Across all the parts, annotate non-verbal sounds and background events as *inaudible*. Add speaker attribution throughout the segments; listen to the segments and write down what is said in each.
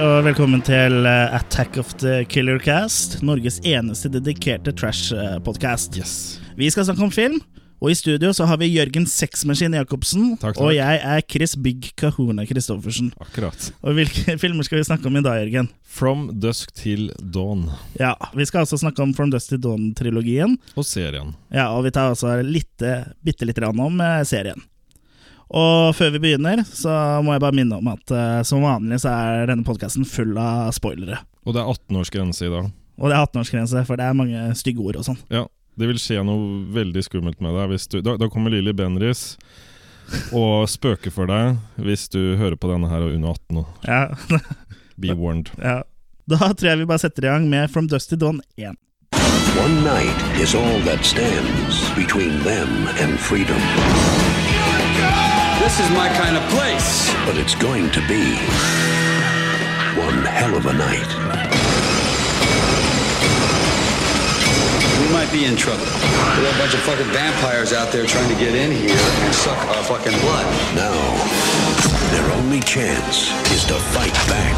Speaker 1: og velkommen til eh, Attack of the Killer Cast. Norges eneste dedikerte trash-podkast.
Speaker 2: Yes.
Speaker 1: Vi skal snakke om film, og i studio så har vi Jørgen Sexmaskin Jacobsen.
Speaker 2: Takk, takk.
Speaker 1: Og jeg er Chris Big Kahuna Christoffersen.
Speaker 2: Akkurat.
Speaker 1: Og hvilke *laughs* filmer skal vi snakke om i dag, Jørgen?
Speaker 2: From Dusk til Dawn
Speaker 1: Ja, Vi skal altså snakke om From Dust to Dawn-trilogien.
Speaker 2: og serien.
Speaker 1: Ja, og vi tar altså lite, bitte lite grann om eh, serien. Og før vi begynner, så må jeg bare minne om at eh, som vanlig så er denne podkasten full av spoilere.
Speaker 2: Og det er 18-årsgrense i dag.
Speaker 1: Og det er 18-årsgrense, for det er mange stygge ord og sånn.
Speaker 2: Ja, Det vil skje noe veldig skummelt med deg. Hvis du, da, da kommer Lilly Bendriss og spøker for deg hvis du hører på denne her og er under 18. og
Speaker 1: Ja, *laughs*
Speaker 2: Be warned.
Speaker 1: ja. Da tror jeg vi bare setter i gang med From Dust to Dawn 1.
Speaker 3: One night is all that stands between them and freedom.
Speaker 4: This is my kind of place.
Speaker 3: But it's going to be one hell of a night.
Speaker 4: We might be in trouble. There are a bunch of fucking vampires out there trying to get in here and suck our fucking blood.
Speaker 3: Now, their only chance is to fight back.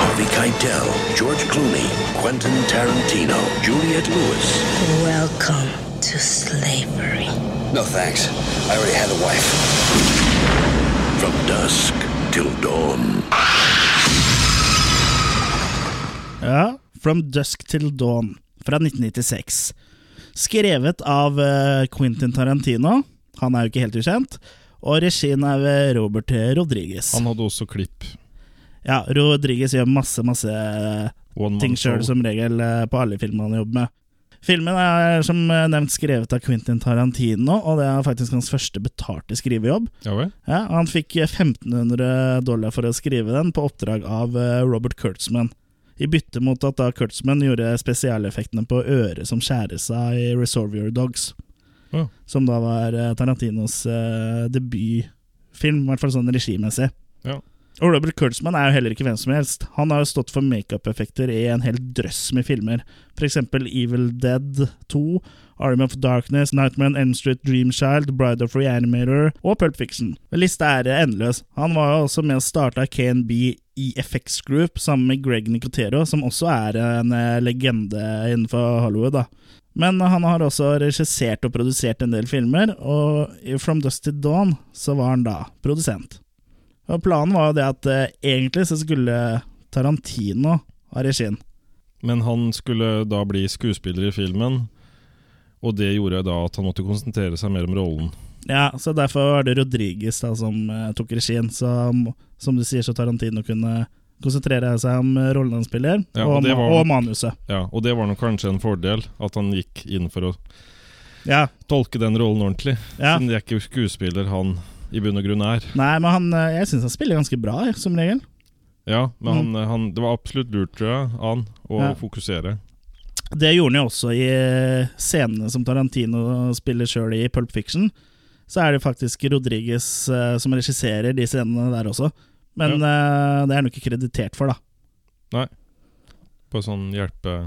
Speaker 3: Harvey Keitel, George Clooney, Quentin Tarantino, Juliette Lewis.
Speaker 5: Welcome to slavery.
Speaker 4: No thanks. I already had a wife.
Speaker 3: From dusk till dawn.
Speaker 1: Ja, From Dusk Till Dawn fra 1996. Skrevet av eh, Quentin Tarantino, han er jo ikke helt ukjent, og regien er ved Robert Rodriguez.
Speaker 2: Han hadde også klipp.
Speaker 1: Ja, Rodriguez gjør masse, masse
Speaker 2: One
Speaker 1: ting
Speaker 2: Man
Speaker 1: sjøl,
Speaker 2: Show.
Speaker 1: som regel, eh, på alle filmene han jobber med. Filmen er som eh, nevnt skrevet av Quentin Tarantino, og det er faktisk hans første betalte skrivejobb.
Speaker 2: Ja vel?
Speaker 1: Ja, og han fikk 1500 dollar for å skrive den på oppdrag av eh, Robert Kurtzman. I bytte mot at da Kurtzman gjorde spesialeffektene på øret som skjæres av i Resolve Your Dogs.
Speaker 2: Ja.
Speaker 1: Som da var eh, Tarantinos eh, debutfilm, i hvert fall sånn regimessig.
Speaker 2: Ja.
Speaker 1: Og Robert Kurtzman er jo heller ikke hvem som helst. Han har jo stått for makeup-effekter i en hel drøss med filmer. For eksempel Evil Dead 2, Army of Darkness, Nightmare on Elm Street, Dreamchild, Bride of Reanimator og Pulp Fiction. Lista er endeløs. Han var jo også med å starte KNB i FX Group sammen med Greg Nicotero, som også er en eh, legende innenfor Hollywood. da. Men han har også regissert og produsert en del filmer, og i From Dust to Dawn så var han da produsent. Og Planen var jo det at eh, egentlig så skulle Tarantino ha regien.
Speaker 2: Men han skulle da bli skuespiller i filmen, og det gjorde da at han måtte konsentrere seg mer om rollen.
Speaker 1: Ja, så derfor var det Rodriguez da som eh, tok regien. Så m- som du sier, så Tarantino kunne konsentrere seg om eh, rollen han spiller,
Speaker 2: Ja,
Speaker 1: og,
Speaker 2: og det
Speaker 1: ma-
Speaker 2: var-
Speaker 1: og manuset.
Speaker 2: Ja, Og det var nok kanskje en fordel, at han gikk inn for å
Speaker 1: Ja,
Speaker 2: tolke den rollen ordentlig.
Speaker 1: ja.
Speaker 2: Siden det er ikke skuespiller han i bunn og grunn er.
Speaker 1: Nei, men han, eh, jeg syns han spiller ganske bra, jeg, som regel.
Speaker 2: Ja, men han, eh, han, det var absolutt lurt, tror jeg, han, å
Speaker 1: Mhm. Ja.
Speaker 2: fokusere.
Speaker 1: Det gjorde han jo også i eh, scenene som Tarantino spiller sjøl i Pulp Fiction. Så er det faktisk Rodriguez eh, som regisserer de scenene der også. Men eh, det er han jo ikke kreditert for, da.
Speaker 2: Nei. På sånn hjelpe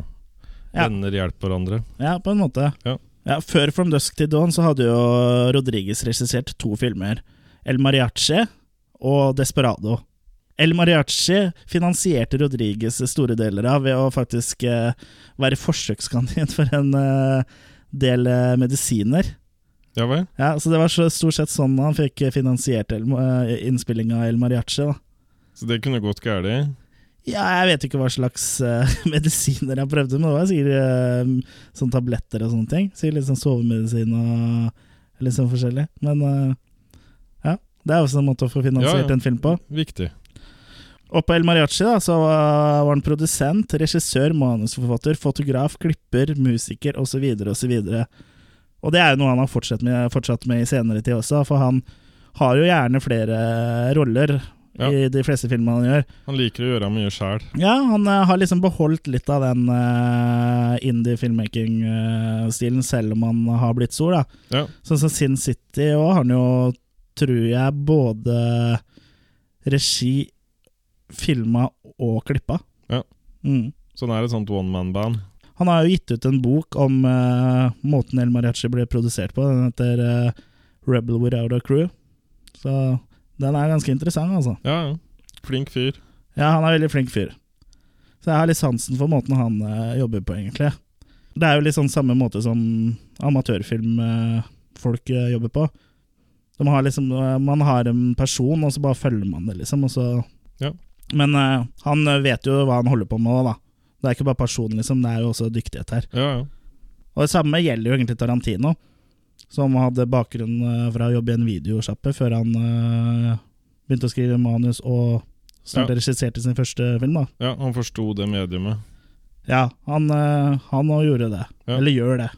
Speaker 1: Ja.
Speaker 2: Venner hjelper hverandre.
Speaker 1: Ja, på en måte.
Speaker 2: Ja.
Speaker 1: Før From Dusk til Dawn så hadde jo Rodriguez regissert to filmer. El Mariachi og Desperado. El Mariachi finansierte Rodriguez store deler av ved å faktisk eh, være forsøkskandidat *laughs* for en eh, del eh, medisiner.
Speaker 2: Ja vel?
Speaker 1: Ja, Så det var så, stort sett sånn han fikk finansiert El, eh, innspillinga av El Mariachi. da.
Speaker 2: Så det kunne gått galt.
Speaker 1: Ja, jeg vet ikke hva slags eh, *laughs* medisiner jeg prøvde, men det var sikkert eh, sånn tabletter og sånne ting. Sikkert litt sånn sovemedisin og litt sånn forskjellig. Men eh, ja, det er også en måte å få finansiert
Speaker 2: Ja, ja.
Speaker 1: en film på.
Speaker 2: Viktig.
Speaker 1: Og på El Mariachi da, så eh, var var han produsent, regissør, manusforfatter, fotograf, klipper, musiker osv. osv. Og det er jo noe han har fortsatt med, fortsatt med i senere tid også, for han har jo gjerne flere eh, roller
Speaker 2: Ja.
Speaker 1: i de fleste filmene han gjør.
Speaker 2: Han liker å gjøre mye sjæl.
Speaker 1: Ja, han eh, har liksom beholdt litt av den eh, indie filmmaking-stilen, selv om han har blitt stor. da
Speaker 2: Ja.
Speaker 1: Sånn som Sin City òg har han jo, tror jeg, både regi filma og klippa.
Speaker 2: Ja.
Speaker 1: Mm.
Speaker 2: Så det er et sånt one man-band.
Speaker 1: Han har jo gitt ut en bok om eh, måten El Mariachi ble produsert på. Den heter eh, 'Rebel Without a Crew'. Så den er ganske interessant, altså.
Speaker 2: Ja, ja. Flink fyr.
Speaker 1: Ja, han er veldig flink fyr. Så jeg har litt sansen for måten han eh, jobber på, egentlig. Det er jo litt sånn samme måte som amatørfilmfolk eh, jobber på. De har liksom, eh, man har en person, og så bare følger man det, liksom. Og så
Speaker 2: Ja.
Speaker 1: Men eh, han vet jo hva han holder på med, da. Det er ikke bare personen, liksom. Det er jo også dyktighet her.
Speaker 2: Ja, ja.
Speaker 1: Og det samme gjelder jo egentlig Tarantino, som hadde bakgrunn eh, fra å jobbe i en videosjappe før han eh, begynte å skrive manus og snart
Speaker 2: Ja.
Speaker 1: regisserte sin første film. da.
Speaker 2: ja han forsto det mediumet.
Speaker 1: Ja, han, eh, han også gjorde det.
Speaker 2: Ja.
Speaker 1: Eller gjør det.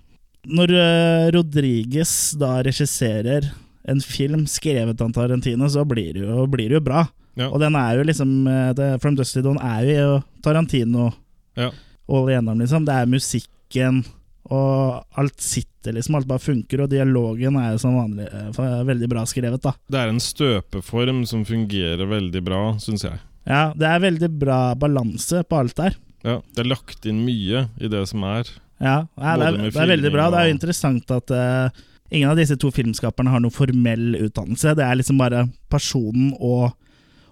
Speaker 1: Når eh, Rodriguez da regisserer en film skrevet av Tarantino, så blir det jo, blir det jo bra.
Speaker 2: Ja.
Speaker 1: Og den er jo liksom eh, det, From Dusty Dawn er jo Tarantino
Speaker 2: Ja.
Speaker 1: all igjennom, liksom. Det er musikken, og alt sitter, liksom. Alt bare funker, og dialogen er jo som vanlig eh, fa- veldig bra skrevet, da.
Speaker 2: Det er en støpeform som fungerer veldig bra, syns jeg.
Speaker 1: Ja, det er veldig bra balanse på alt der.
Speaker 2: Ja, Det er lagt inn mye i det som er.
Speaker 1: Ja, ja det,
Speaker 2: Både
Speaker 1: er,
Speaker 2: med
Speaker 1: det er veldig bra.
Speaker 2: filming og-
Speaker 1: Det er jo interessant at eh, ingen av disse to filmskaperne har noen formell utdannelse. Det er liksom bare personen og,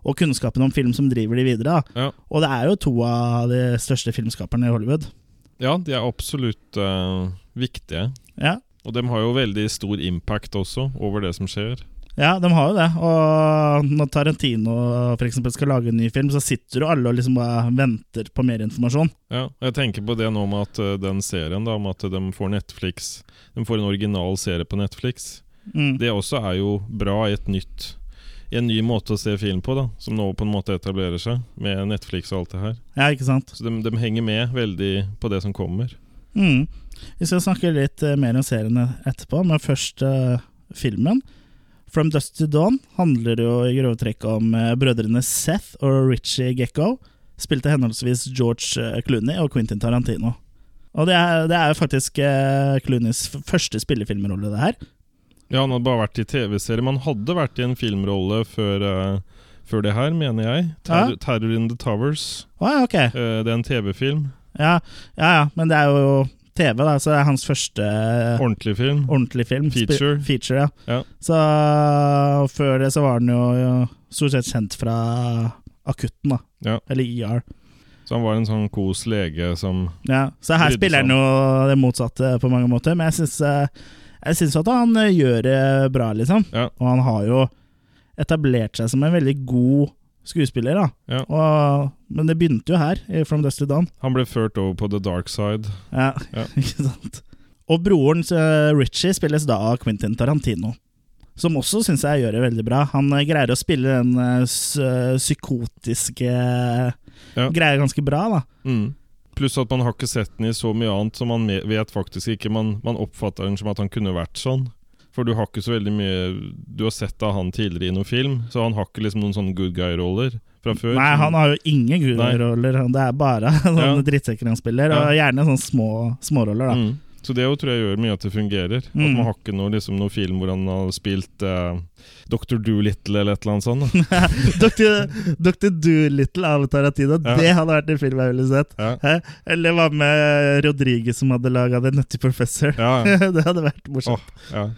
Speaker 1: og kunnskapen om film som driver de videre. Da.
Speaker 2: Ja,
Speaker 1: Og det er jo to av de største filmskaperne i Hollywood.
Speaker 2: ja de er absolutt eh, viktige.
Speaker 1: Ja,
Speaker 2: Og de har jo veldig stor impact også over det som skjer.
Speaker 1: Ja, de har jo det. Og når Tarantino for eksempel, skal lage en ny film, så sitter jo alle og liksom bare venter på mer informasjon.
Speaker 2: Ja, og Jeg tenker på det nå med at eh, den serien, da, med at de får Netflix De får en original serie på Netflix.
Speaker 1: Mm.
Speaker 2: Det også er jo bra i et nytt i en ny måte å se film på, da som nå på en måte etablerer seg, med Netflix og alt det her.
Speaker 1: Ja, ikke sant?
Speaker 2: Så de, de henger med veldig på det som kommer.
Speaker 1: Mm. Vi skal snakke litt eh, mer om seriene etterpå, men først eh, filmen. From Dust to Dawn handler jo i grove trekk om eh, brødrene Seth og Richie Gekko, spilte henholdsvis George eh, Clooney og Quentin Tarantino. Og det er, det er jo faktisk eh, Clooneys f- første spillefilmrolle, det her.
Speaker 2: Ja, han hadde bare vært i TV-serier. Man hadde vært i en filmrolle før, eh, før det her, mener jeg. Terror,
Speaker 1: Ja.
Speaker 2: Terror in the Towers.
Speaker 1: Å ja, ok.
Speaker 2: Eh, det er en TV-film.
Speaker 1: Ja, ja, ja, men det er jo TV, da, så det er hans første
Speaker 2: Ordentlig film.
Speaker 1: ordentlige film. Spi-
Speaker 2: Feature.
Speaker 1: feature ja.
Speaker 2: Ja.
Speaker 1: Så før det så var han jo, jo stort sett kjent fra akutten, da.
Speaker 2: Ja.
Speaker 1: Eller IR.
Speaker 2: Så han var en sånn kos lege som
Speaker 1: Ja. Så her
Speaker 2: Brydde
Speaker 1: spiller
Speaker 2: seg
Speaker 1: han jo det motsatte på mange måter, men jeg syns, eh, jeg syns at han eh, gjør det bra, liksom.
Speaker 2: Ja.
Speaker 1: Og han har jo etablert seg som en veldig god skuespiller, da.
Speaker 2: Ja.
Speaker 1: Og, men det begynte jo her, i From Dust to Dawn.
Speaker 2: Han ble ført over på the dark side.
Speaker 1: Ja,
Speaker 2: Ja.
Speaker 1: *laughs* ikke sant Og broren eh, Richie spilles da av Quentin Tarantino Som også synes jeg gjør det veldig bra Han eh, greier å spille den eh, s- eh, psykotiske
Speaker 2: Ja.
Speaker 1: Greier ganske bra da
Speaker 2: Mm. Pluss at man har ikke sett den i så mye annet, så man me- vet faktisk ikke Man, man oppfatter den som at han kunne vært sånn. For du har ikke så veldig mye Du har sett av han tidligere i noen film, så han har ikke liksom noen sånne good guy-roller fra før.
Speaker 1: Nei,
Speaker 2: som-
Speaker 1: han har jo ingen gudroller Det er bare *laughs* sånne
Speaker 2: Ja.
Speaker 1: drittsekker han spiller
Speaker 2: Ja.
Speaker 1: Og gjerne sånne små, småroller *laughs* da
Speaker 2: Mm. Så det jo tror jeg gjør mye at det fungerer. At
Speaker 1: Mm.
Speaker 2: man har ikke noe, liksom, noe film hvor han har spilt eh, Dr. Doolittle eller et eller annet sånt.
Speaker 1: *laughs*
Speaker 2: Da.
Speaker 1: Dr. Dr. Doolittle av Tarantino
Speaker 2: Ja.
Speaker 1: Det hadde vært en film jeg ville sett
Speaker 2: Ja.
Speaker 1: Hæ? Eller hva med Rodriguez som hadde laget The Nutty Professor
Speaker 2: Ja,
Speaker 1: *laughs* Det hadde vært morsomt
Speaker 2: Åh, ja.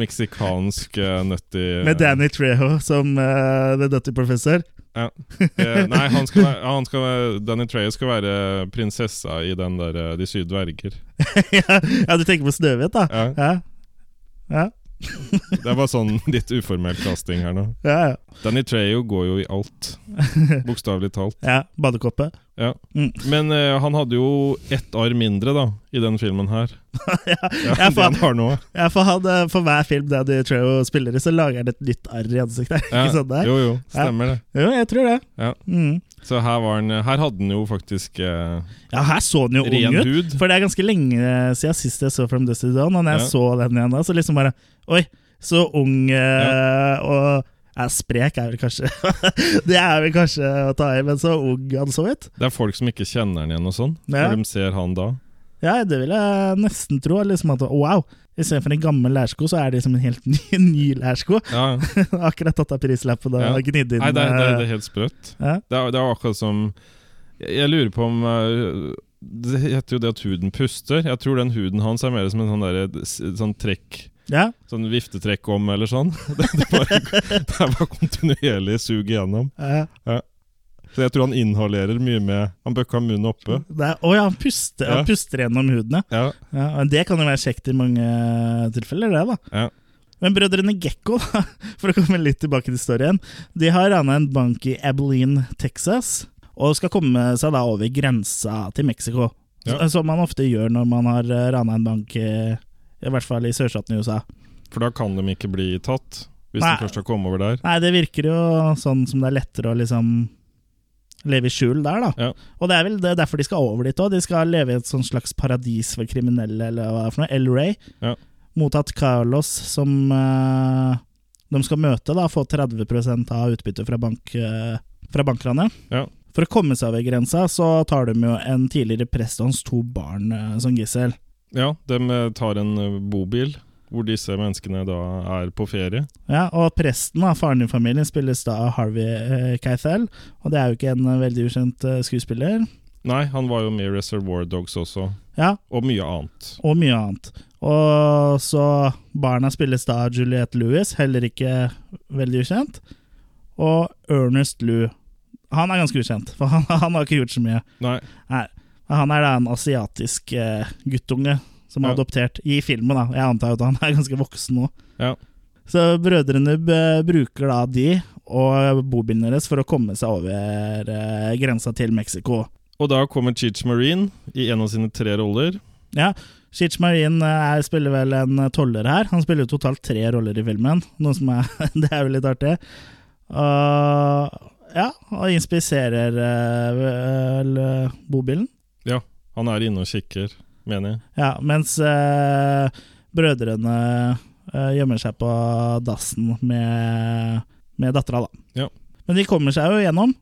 Speaker 2: Meksikansk uh, nutty
Speaker 1: Med Danny Treho som eh, The Dutty Professor. *laughs*
Speaker 2: Ja. Eh, nei, han skal være, han skal være Danny Trejo skal være prinsessa i den der eh, De syv dverger.
Speaker 1: ja, ja, du tenker på Snøhvit, da?
Speaker 2: Ja,
Speaker 1: Ja. Ja,
Speaker 2: det er bare sånn *laughs* litt uformell casting her nå.
Speaker 1: ja, ja.
Speaker 2: Danny Trejo går jo i
Speaker 1: *laughs*
Speaker 2: alt. Bokstavelig talt.
Speaker 1: ja Badekoppe.
Speaker 2: Ja.
Speaker 1: Mm.
Speaker 2: Men eh, han hadde jo ett arm mindre, da, i den filmen her. ja,
Speaker 1: *laughs* ja,
Speaker 2: det
Speaker 1: faen.
Speaker 2: han har nå.
Speaker 1: Ja, for, han, eh, for hver film Danny Treho spiller i, så lager han et nytt arr i ansiktet. er det
Speaker 2: Ja,
Speaker 1: *laughs* Ikke sånn der? Jo.
Speaker 2: Jo, jo, stemmer det.
Speaker 1: jeg tror det.
Speaker 2: Ja.
Speaker 1: Mm.
Speaker 2: Så her, var han, her hadde han jo faktisk eh,
Speaker 1: Ja, her så han jo
Speaker 2: ren
Speaker 1: ung ut.
Speaker 2: hud.
Speaker 1: For det er ganske lenge siden sist jeg så From Dusty Dawn, og når jeg
Speaker 2: Ja.
Speaker 1: så den igjen da, så liksom bare Oi, så ung eh, og ja, Sprek er vel kanskje *laughs* Det er vel kanskje å ta i, men så ung han så ut.
Speaker 2: Det er folk som ikke kjenner han igjen og sånn,
Speaker 1: Ja.
Speaker 2: når de ser han da.
Speaker 1: Ja, det vil jeg nesten tro. Liksom at, wow, Istedenfor en gammel lærsko, så er det liksom en helt ny, *laughs* ny lærsko.
Speaker 2: Ja.
Speaker 1: Akkurat tatt av prislappen og
Speaker 2: Ja.
Speaker 1: gnidd inn
Speaker 2: Nei, det er, det, er, det
Speaker 1: eh,
Speaker 2: er helt sprøtt.
Speaker 1: ja.
Speaker 2: Det er, det er jo akkurat som Jeg, jeg lurer på om eh, Det heter jo det at huden puster. Jeg tror den huden hans er mer som en sånn, derre- s- sånn trekk
Speaker 1: ja.
Speaker 2: Sånn viftetrekk om, eller sånn. *laughs* Det, det, bare, det er bare kontinuerlig sug igjennom.
Speaker 1: ja.
Speaker 2: Så jeg tror han inhalerer mye med Han bør ikke ha munnen oppe.
Speaker 1: Det er, å ja, han puster,
Speaker 2: Ja.
Speaker 1: han puster gjennom huden, ja.
Speaker 2: Ja,
Speaker 1: ja. men Det kan jo være kjekt i mange eh, tilfeller, det, da.
Speaker 2: ja.
Speaker 1: Men brødrene Gekko, *laughs* da, for å komme litt tilbake til storyen, de har rana en bank i Abilene, Texas, og skal komme seg da over grensa til Mexico.
Speaker 2: Ja.
Speaker 1: S- Som man ofte gjør når man har eh, rana en bank, eh, i hvert fall i sørstaten i USA.
Speaker 2: For da kan de ikke bli tatt, hvis
Speaker 1: Nei.
Speaker 2: de først har kommet over der.
Speaker 1: Nei, det virker jo sånn som det er lettere å liksom leve i skjul der, da.
Speaker 2: Ja.
Speaker 1: Og det er vel det, derfor de skal over dit òg. De skal leve i et sånn slags paradis for kriminelle, eller hva det er for noe. El Rey.
Speaker 2: Ja.
Speaker 1: Mottatt Carlos, som eh, de skal møte, da, få 30 av utbyttet fra, bank, eh, fra bankranet.
Speaker 2: Ja.
Speaker 1: For å komme seg over grensa, så tar de jo en tidligere prest og hans to barn eh, som gissel.
Speaker 2: ja, de eh, tar en eh, bobil hvor disse menneskene da er på ferie.
Speaker 1: Ja, og presten, da, faren i familien, spilles da av Harvey eh, Keitel, og det er jo ikke en eh, veldig ukjent eh, skuespiller.
Speaker 2: Nei, han var jo med i Reservoir Dogs også,
Speaker 1: Ja,
Speaker 2: og mye annet.
Speaker 1: og mye annet. Og så barna spilles da av Juliette Lewis, heller ikke veldig ukjent. Og Ernest Lew. Han er ganske ukjent, for han, *laughs* han har ikke gjort så mye.
Speaker 2: Nei,
Speaker 1: Nei, men Han er da en asiatisk eh, guttunge som er
Speaker 2: Ja.
Speaker 1: adoptert i filmen. da. Jeg antar jo at han er ganske voksen nå.
Speaker 2: ja.
Speaker 1: Så brødrene b- bruker da de og bobilen deres for å komme seg over eh, grensa til Mexico.
Speaker 2: Og da kommer Cheech Marine i en av sine tre roller.
Speaker 1: Ja, Chich Marin eh, er, spiller vel en toller her. Han spiller jo totalt tre roller i filmen, noe som er, *laughs* det er jo litt artig. Og, ja, og inspiserer eh, vel eh, bobilen.
Speaker 2: Ja, han er inne og kikker, mener jeg.
Speaker 1: Ja, mens eh, brødrene eh, gjemmer seg på dassen med, med dattera, da.
Speaker 2: Ja.
Speaker 1: Men de kommer seg jo gjennom.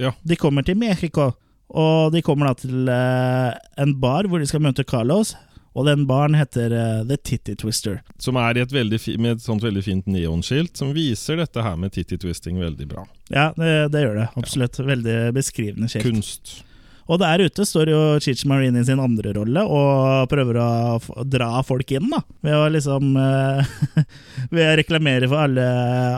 Speaker 2: Ja.
Speaker 1: De kommer til Mexico, og de kommer da til eh, en bar hvor de skal møte Carlos. Og den baren heter eh, The Titty Twister.
Speaker 2: Som er i et veldig fi, med et sånt veldig fint neonskilt som viser dette her med titty twisting veldig bra.
Speaker 1: Ja, det, det gjør det. Absolutt. Veldig beskrivende skilt.
Speaker 2: Kunst.
Speaker 1: Og der ute står jo Chichi Marine i sin andre rolle og prøver å f dra folk inn, da. Ved å liksom eh, *laughs* Ved å reklamere for alle,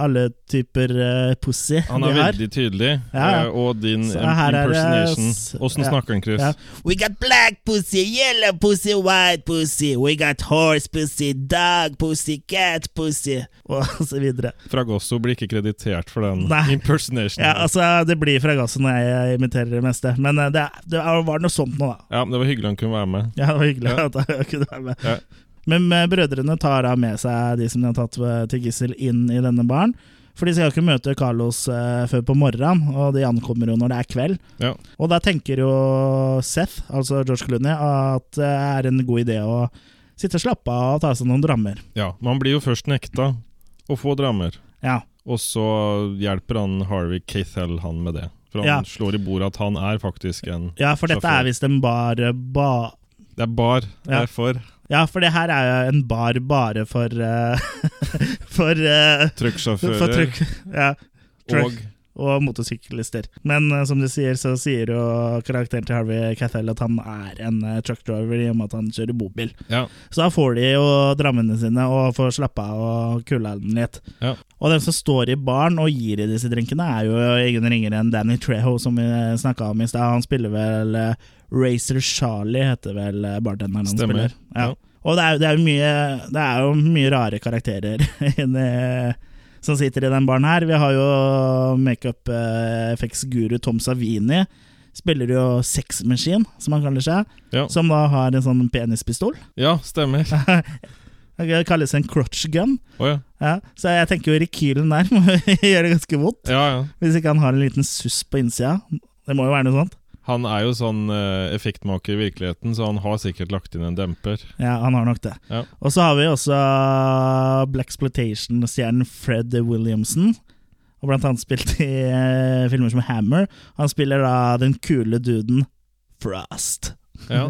Speaker 1: alle typer eh, pussy
Speaker 2: Han er
Speaker 1: de har.
Speaker 2: veldig tydelig,
Speaker 1: Ja, ja.
Speaker 2: eh, og din
Speaker 1: Så
Speaker 2: eh,
Speaker 1: her er det-
Speaker 2: impersonation
Speaker 1: s-
Speaker 2: Åssen
Speaker 1: ja.
Speaker 2: snakker han, Chris?
Speaker 1: Ja. We got black pussy, yellow pussy, white pussy. We got horse pussy, dog pussy, cat pussy. *laughs* Og så videre.
Speaker 2: Fragosso blir ikke kreditert for den
Speaker 1: Nei.
Speaker 2: *laughs* impersonationen.
Speaker 1: Ja, altså, det blir fra gassen når jeg imiterer det meste. Men eh, det, er- det er- var noe sånt nå, da.
Speaker 2: Ja, men Det var hyggelig han kunne være med.
Speaker 1: *laughs* Ja, det var hyggelig
Speaker 2: Ja.
Speaker 1: at jeg kunne være med.
Speaker 2: Ja.
Speaker 1: Men eh, brødrene tar da med seg de som de har tatt eh, til gissel inn i denne baren. For de skal jo ikke møte Carlos eh, før på morgenen, og de ankommer jo når det er kveld.
Speaker 2: Ja.
Speaker 1: Og da tenker jo Seth, altså George Clooney, at det er en god idé å sitte og slappe av og ta seg noen drammer.
Speaker 2: ja, Men han blir jo først nekta å få drammer,
Speaker 1: Ja,
Speaker 2: og så hjelper han Harvey Cathell han med det. For han
Speaker 1: Ja.
Speaker 2: slår i bordet at han er faktisk en
Speaker 1: ja for dette
Speaker 2: sjåfør.
Speaker 1: er visst en bar, eh, ba...
Speaker 2: Det er bar.
Speaker 1: Ja.
Speaker 2: Derfor
Speaker 1: Ja, for det her er jo en bar bare for eh, *laughs* For, eh,
Speaker 2: trucksjåfører
Speaker 1: for trykk... Ja.
Speaker 2: og
Speaker 1: og motorsyklister. Men eh, som du sier, så sier jo karakteren til Harvey Cathell at han er en eh, truckdriver i og med at han kjører bobil.
Speaker 2: ja,
Speaker 1: Så da får de jo drammene sine og får slappe av og kule den litt.
Speaker 2: ja.
Speaker 1: Og den som står i baren og gir i disse drinkene, er jo ingen ringere enn Danny Treho, som vi snakka om i stad. Han spiller vel eh, Racer Charlie, heter vel eh, bartenderen han
Speaker 2: Stemmer.
Speaker 1: spiller. Ja.
Speaker 2: Ja.
Speaker 1: Og det er, det, er jo mye, det er jo mye rare karakterer *laughs* inni- som sitter i den baren her. Vi har jo makeup-effects-guru Tom Savini. Spiller jo Sex Machine, som han kaller seg.
Speaker 2: Ja.
Speaker 1: Som da har en sånn penispistol.
Speaker 2: ja, stemmer.
Speaker 1: Det kalles en crotch gun.
Speaker 2: Å ja.
Speaker 1: Ja, så jeg tenker jo rekylen der *laughs* må gjøre det ganske vondt.
Speaker 2: ja, ja.
Speaker 1: Hvis ikke han har en liten suss på innsida. Det må jo være noe sånt.
Speaker 2: Han er jo sånn eh, effektmaker i virkeligheten, så han har sikkert lagt inn en demper.
Speaker 1: Ja, han har nok det.
Speaker 2: Ja.
Speaker 1: Og så har vi også uh, Blaxploitation-stjernen Fred Williamson. Og blant annet spilt i eh, filmer som Hammer. Han spiller da den kule duden Frost.
Speaker 2: Ja.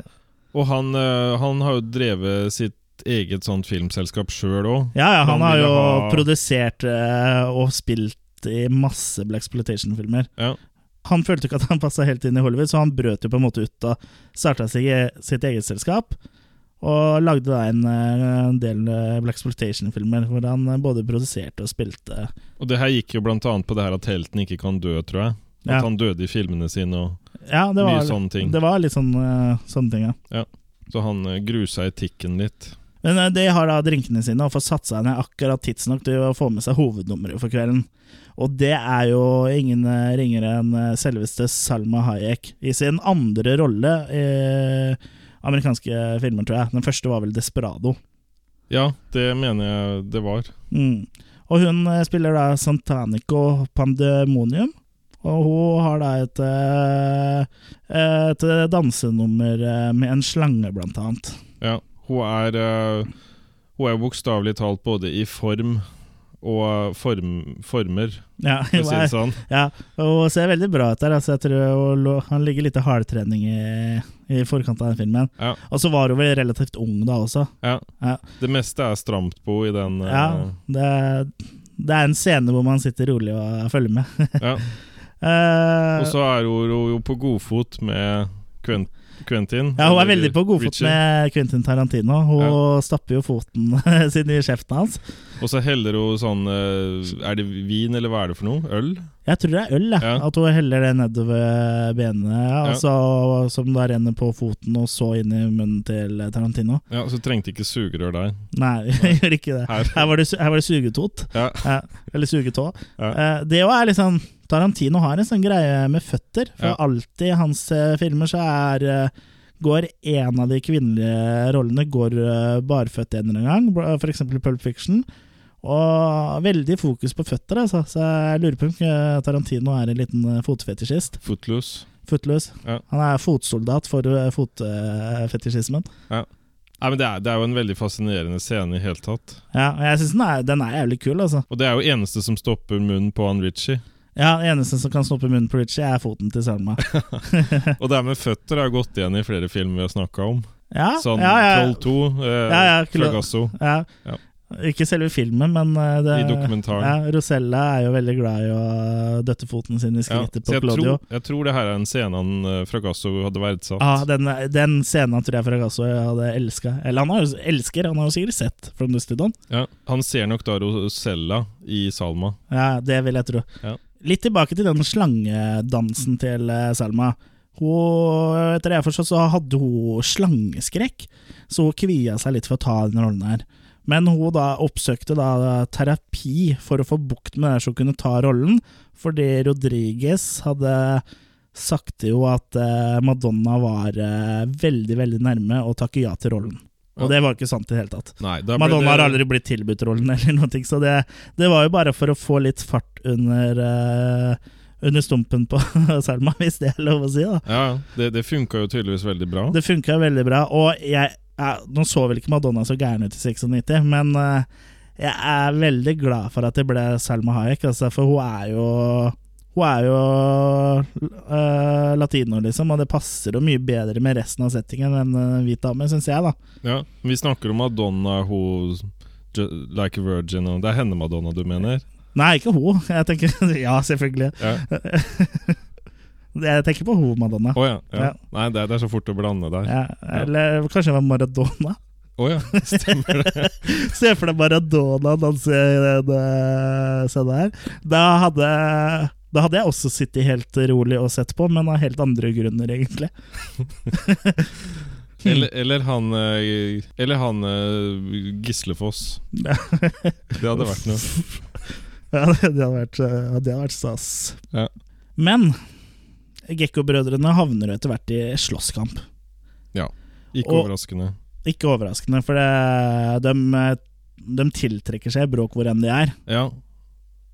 Speaker 2: Og han, eh, han har jo drevet sitt eget sånt filmselskap sjøl òg.
Speaker 1: Ja, ja, han
Speaker 2: Han
Speaker 1: har
Speaker 2: ville
Speaker 1: jo
Speaker 2: ha-
Speaker 1: produsert eh, og spilt i masse Black Exploitation-filmer.
Speaker 2: Ja.
Speaker 1: Han følte ikke at han passa helt inn i Hollywood, så han brøt jo på en måte ut og starta sitt eget selskap. Og lagde da en, eh, en del eh, Black Exploitation-filmer hvor han eh, både produserte og spilte.
Speaker 2: Og det her gikk jo blant annet på det her at helten ikke kan dø, tror jeg. At
Speaker 1: Ja.
Speaker 2: han døde i filmene sine, og
Speaker 1: Ja, det var,
Speaker 2: mye sånne ting.
Speaker 1: Det var litt sånn, eh, sånne ting, ja.
Speaker 2: Så han eh, grusa etikken litt.
Speaker 1: Men eh, de har da drinkene sine og får satt seg ned akkurat tidsnok til å få med seg hovednummeret for kvelden. Og det er jo ingen eh, ringere enn eh, selveste Salma Hayek i sin andre rolle i amerikanske filmer, tror jeg. Den første var vel 'Desperado'.
Speaker 2: Ja, det mener jeg det var.
Speaker 1: Mm. Og hun eh, spiller da Santanico Pandemonium. Og hun har da et, eh, et dansenummer eh, med en slange, blant annet.
Speaker 2: Ja, hun er eh, Hun er bokstavelig talt både i form og form, former,
Speaker 1: Ja, *laughs*
Speaker 2: for å si
Speaker 1: hva er-
Speaker 2: det sånn.
Speaker 1: Ja, og ser veldig bra ut der. Altså, jeg tror hun lå- Han ligger litt i hardtrening i, i forkant av den filmen.
Speaker 2: Ja,
Speaker 1: Og så var hun vel relativt ung da også.
Speaker 2: ja.
Speaker 1: Ja.
Speaker 2: Det meste er stramt på henne i den eh,
Speaker 1: Ja, det, det er en scene hvor man sitter rolig og følger med. *laughs*
Speaker 2: ja.
Speaker 1: Eh,
Speaker 2: Og så er hun hun jo på godfot med Quen- Quentin.
Speaker 1: ja, hun er
Speaker 2: eller
Speaker 1: veldig på godfot
Speaker 2: Richard.
Speaker 1: med Quentin Tarantino. Hun stapper jo foten *laughs* sin i kjeften hans.
Speaker 2: Og så heller hun sånn eh, Er det vin, eller hva er det for noe? Øl?
Speaker 1: Jeg tror det er øl, jeg.
Speaker 2: Ja.
Speaker 1: At hun heller det nedover benene, og så- som da renner på foten og så inn i munnen til Tarantino.
Speaker 2: Ja, så trengte ikke sugerør der.
Speaker 1: Nei, *laughs* jeg gjør ikke det.
Speaker 2: Her.
Speaker 1: Her var det, su- her var det sugetot.
Speaker 2: Ja.
Speaker 1: Ja, eller sugetå.
Speaker 2: Ja.
Speaker 1: Eh, Det jo er liksom Tarantino har en sånn greie med føtter. For
Speaker 2: Ja.
Speaker 1: alltid i hans eh, filmer så er eh, Går en av de kvinnelige rollene Går eh, barføtt en eller annen gang, for eksempel i Pulp Fiction. Og veldig fokus på føtter, altså. Så jeg lurer på om eh, Tarantino er en liten eh, fotfetisjist.
Speaker 2: Footloose.
Speaker 1: Fotløs.
Speaker 2: Ja.
Speaker 1: Han er fotsoldat for eh, fotfetisjismen.
Speaker 2: Nei, men det er, det er jo en veldig fascinerende scene i hele tatt.
Speaker 1: Ja, og jeg syns den, er- den er jævlig kul, altså.
Speaker 2: Og det er jo eneste som stopper munnen på han Ritchie.
Speaker 1: Ja, det eneste som kan snoppe munnen på Richie, er foten til Selma.
Speaker 2: Og det her med føtter har gått igjen i flere filmer vi har snakka om.
Speaker 1: Ja,
Speaker 2: Sånn
Speaker 1: ja, ja,
Speaker 2: Troll 2, eh,
Speaker 1: Ja, ja, klar-
Speaker 2: Fragasso.
Speaker 1: ja.
Speaker 2: Ja.
Speaker 1: Ikke selve filmen, men eh, det,
Speaker 2: I dokumentaren.
Speaker 1: Ja, Rosella er jo veldig glad i å døtte foten sin i
Speaker 2: Ja,
Speaker 1: skrittet
Speaker 2: så
Speaker 1: på
Speaker 2: jeg
Speaker 1: Claudio.
Speaker 2: tror, jeg tror det her er en scene han eh, Fragasso hadde verdsatt.
Speaker 1: Ja, Ah, den, den scenen tror jeg Fragasso hadde elska. Eller han har jo elsker, han har jo sikkert sett From Dusty Dawn.
Speaker 2: Ja, han ser nok da Rosella i Salma.
Speaker 1: Ja, det vil jeg tro.
Speaker 2: Ja.
Speaker 1: Litt tilbake til den slangedansen til eh, Selma. Hun, etter det jeg forstår, så hadde hun slangeskrekk, så hun kvia seg litt for å ta den rollen her. Men hun da oppsøkte da terapi for å få bukt med det, så hun kunne ta rollen, fordi Rodriguez hadde sagt jo at eh, Madonna var eh, veldig, veldig nærme å takke ja til rollen. Og det var ikke sant i det hele tatt.
Speaker 2: Nei, da ble
Speaker 1: Madonna
Speaker 2: det,
Speaker 1: har aldri blitt tilbudt rollen, eller noe, så det, det var jo bare for å få litt fart under, eh, under stumpen på *laughs* Selma, hvis det er lov å si. da.
Speaker 2: Ja, det, det funka jo tydeligvis veldig bra.
Speaker 1: Det funka veldig bra, og jeg, jeg Nå så vel ikke Madonna så gæren ut i 96, men eh, jeg er veldig glad for at det ble Selma Hayek, altså, for hun er jo hun er jo eh, latino, liksom, og det passer jo mye bedre med resten av settingen enn en hvit dame, syns jeg, da.
Speaker 2: Ja, vi snakker om Madonna, hun ju- Like a Virgin og Det er henne Madonna du mener?
Speaker 1: Nei, ikke hun. Jeg tenker, *laughs* ja, selvfølgelig.
Speaker 2: Ja.
Speaker 1: Jeg tenker på hun, Madonna.
Speaker 2: Å ja, ja.
Speaker 1: Ja.
Speaker 2: Nei, det er, det er så fort å blande der. Å ja.
Speaker 1: Ja, eller kanskje det var Maradona? *laughs*
Speaker 2: *laughs* stemmer det.
Speaker 1: Se for deg Maradona danse i den eh, scenen her. Da hadde, da hadde jeg også sittet helt rolig og sett på, men av helt andre grunner, egentlig. *laughs*
Speaker 2: Eller, eller han eh, Eller han eh,
Speaker 1: *laughs*
Speaker 2: Gislefoss.
Speaker 1: Ja.
Speaker 2: Det hadde vært noe.
Speaker 1: Ja, det hadde vært, eh, det hadde vært stas.
Speaker 2: Ja.
Speaker 1: Men Gekko-brødrene havner jo etter hvert i slåsskamp.
Speaker 2: Ja. Ikke
Speaker 1: Og-
Speaker 2: overraskende.
Speaker 1: Ikke overraskende, for det, de, de tiltrekker seg bråk hvor enn de er.
Speaker 2: Ja.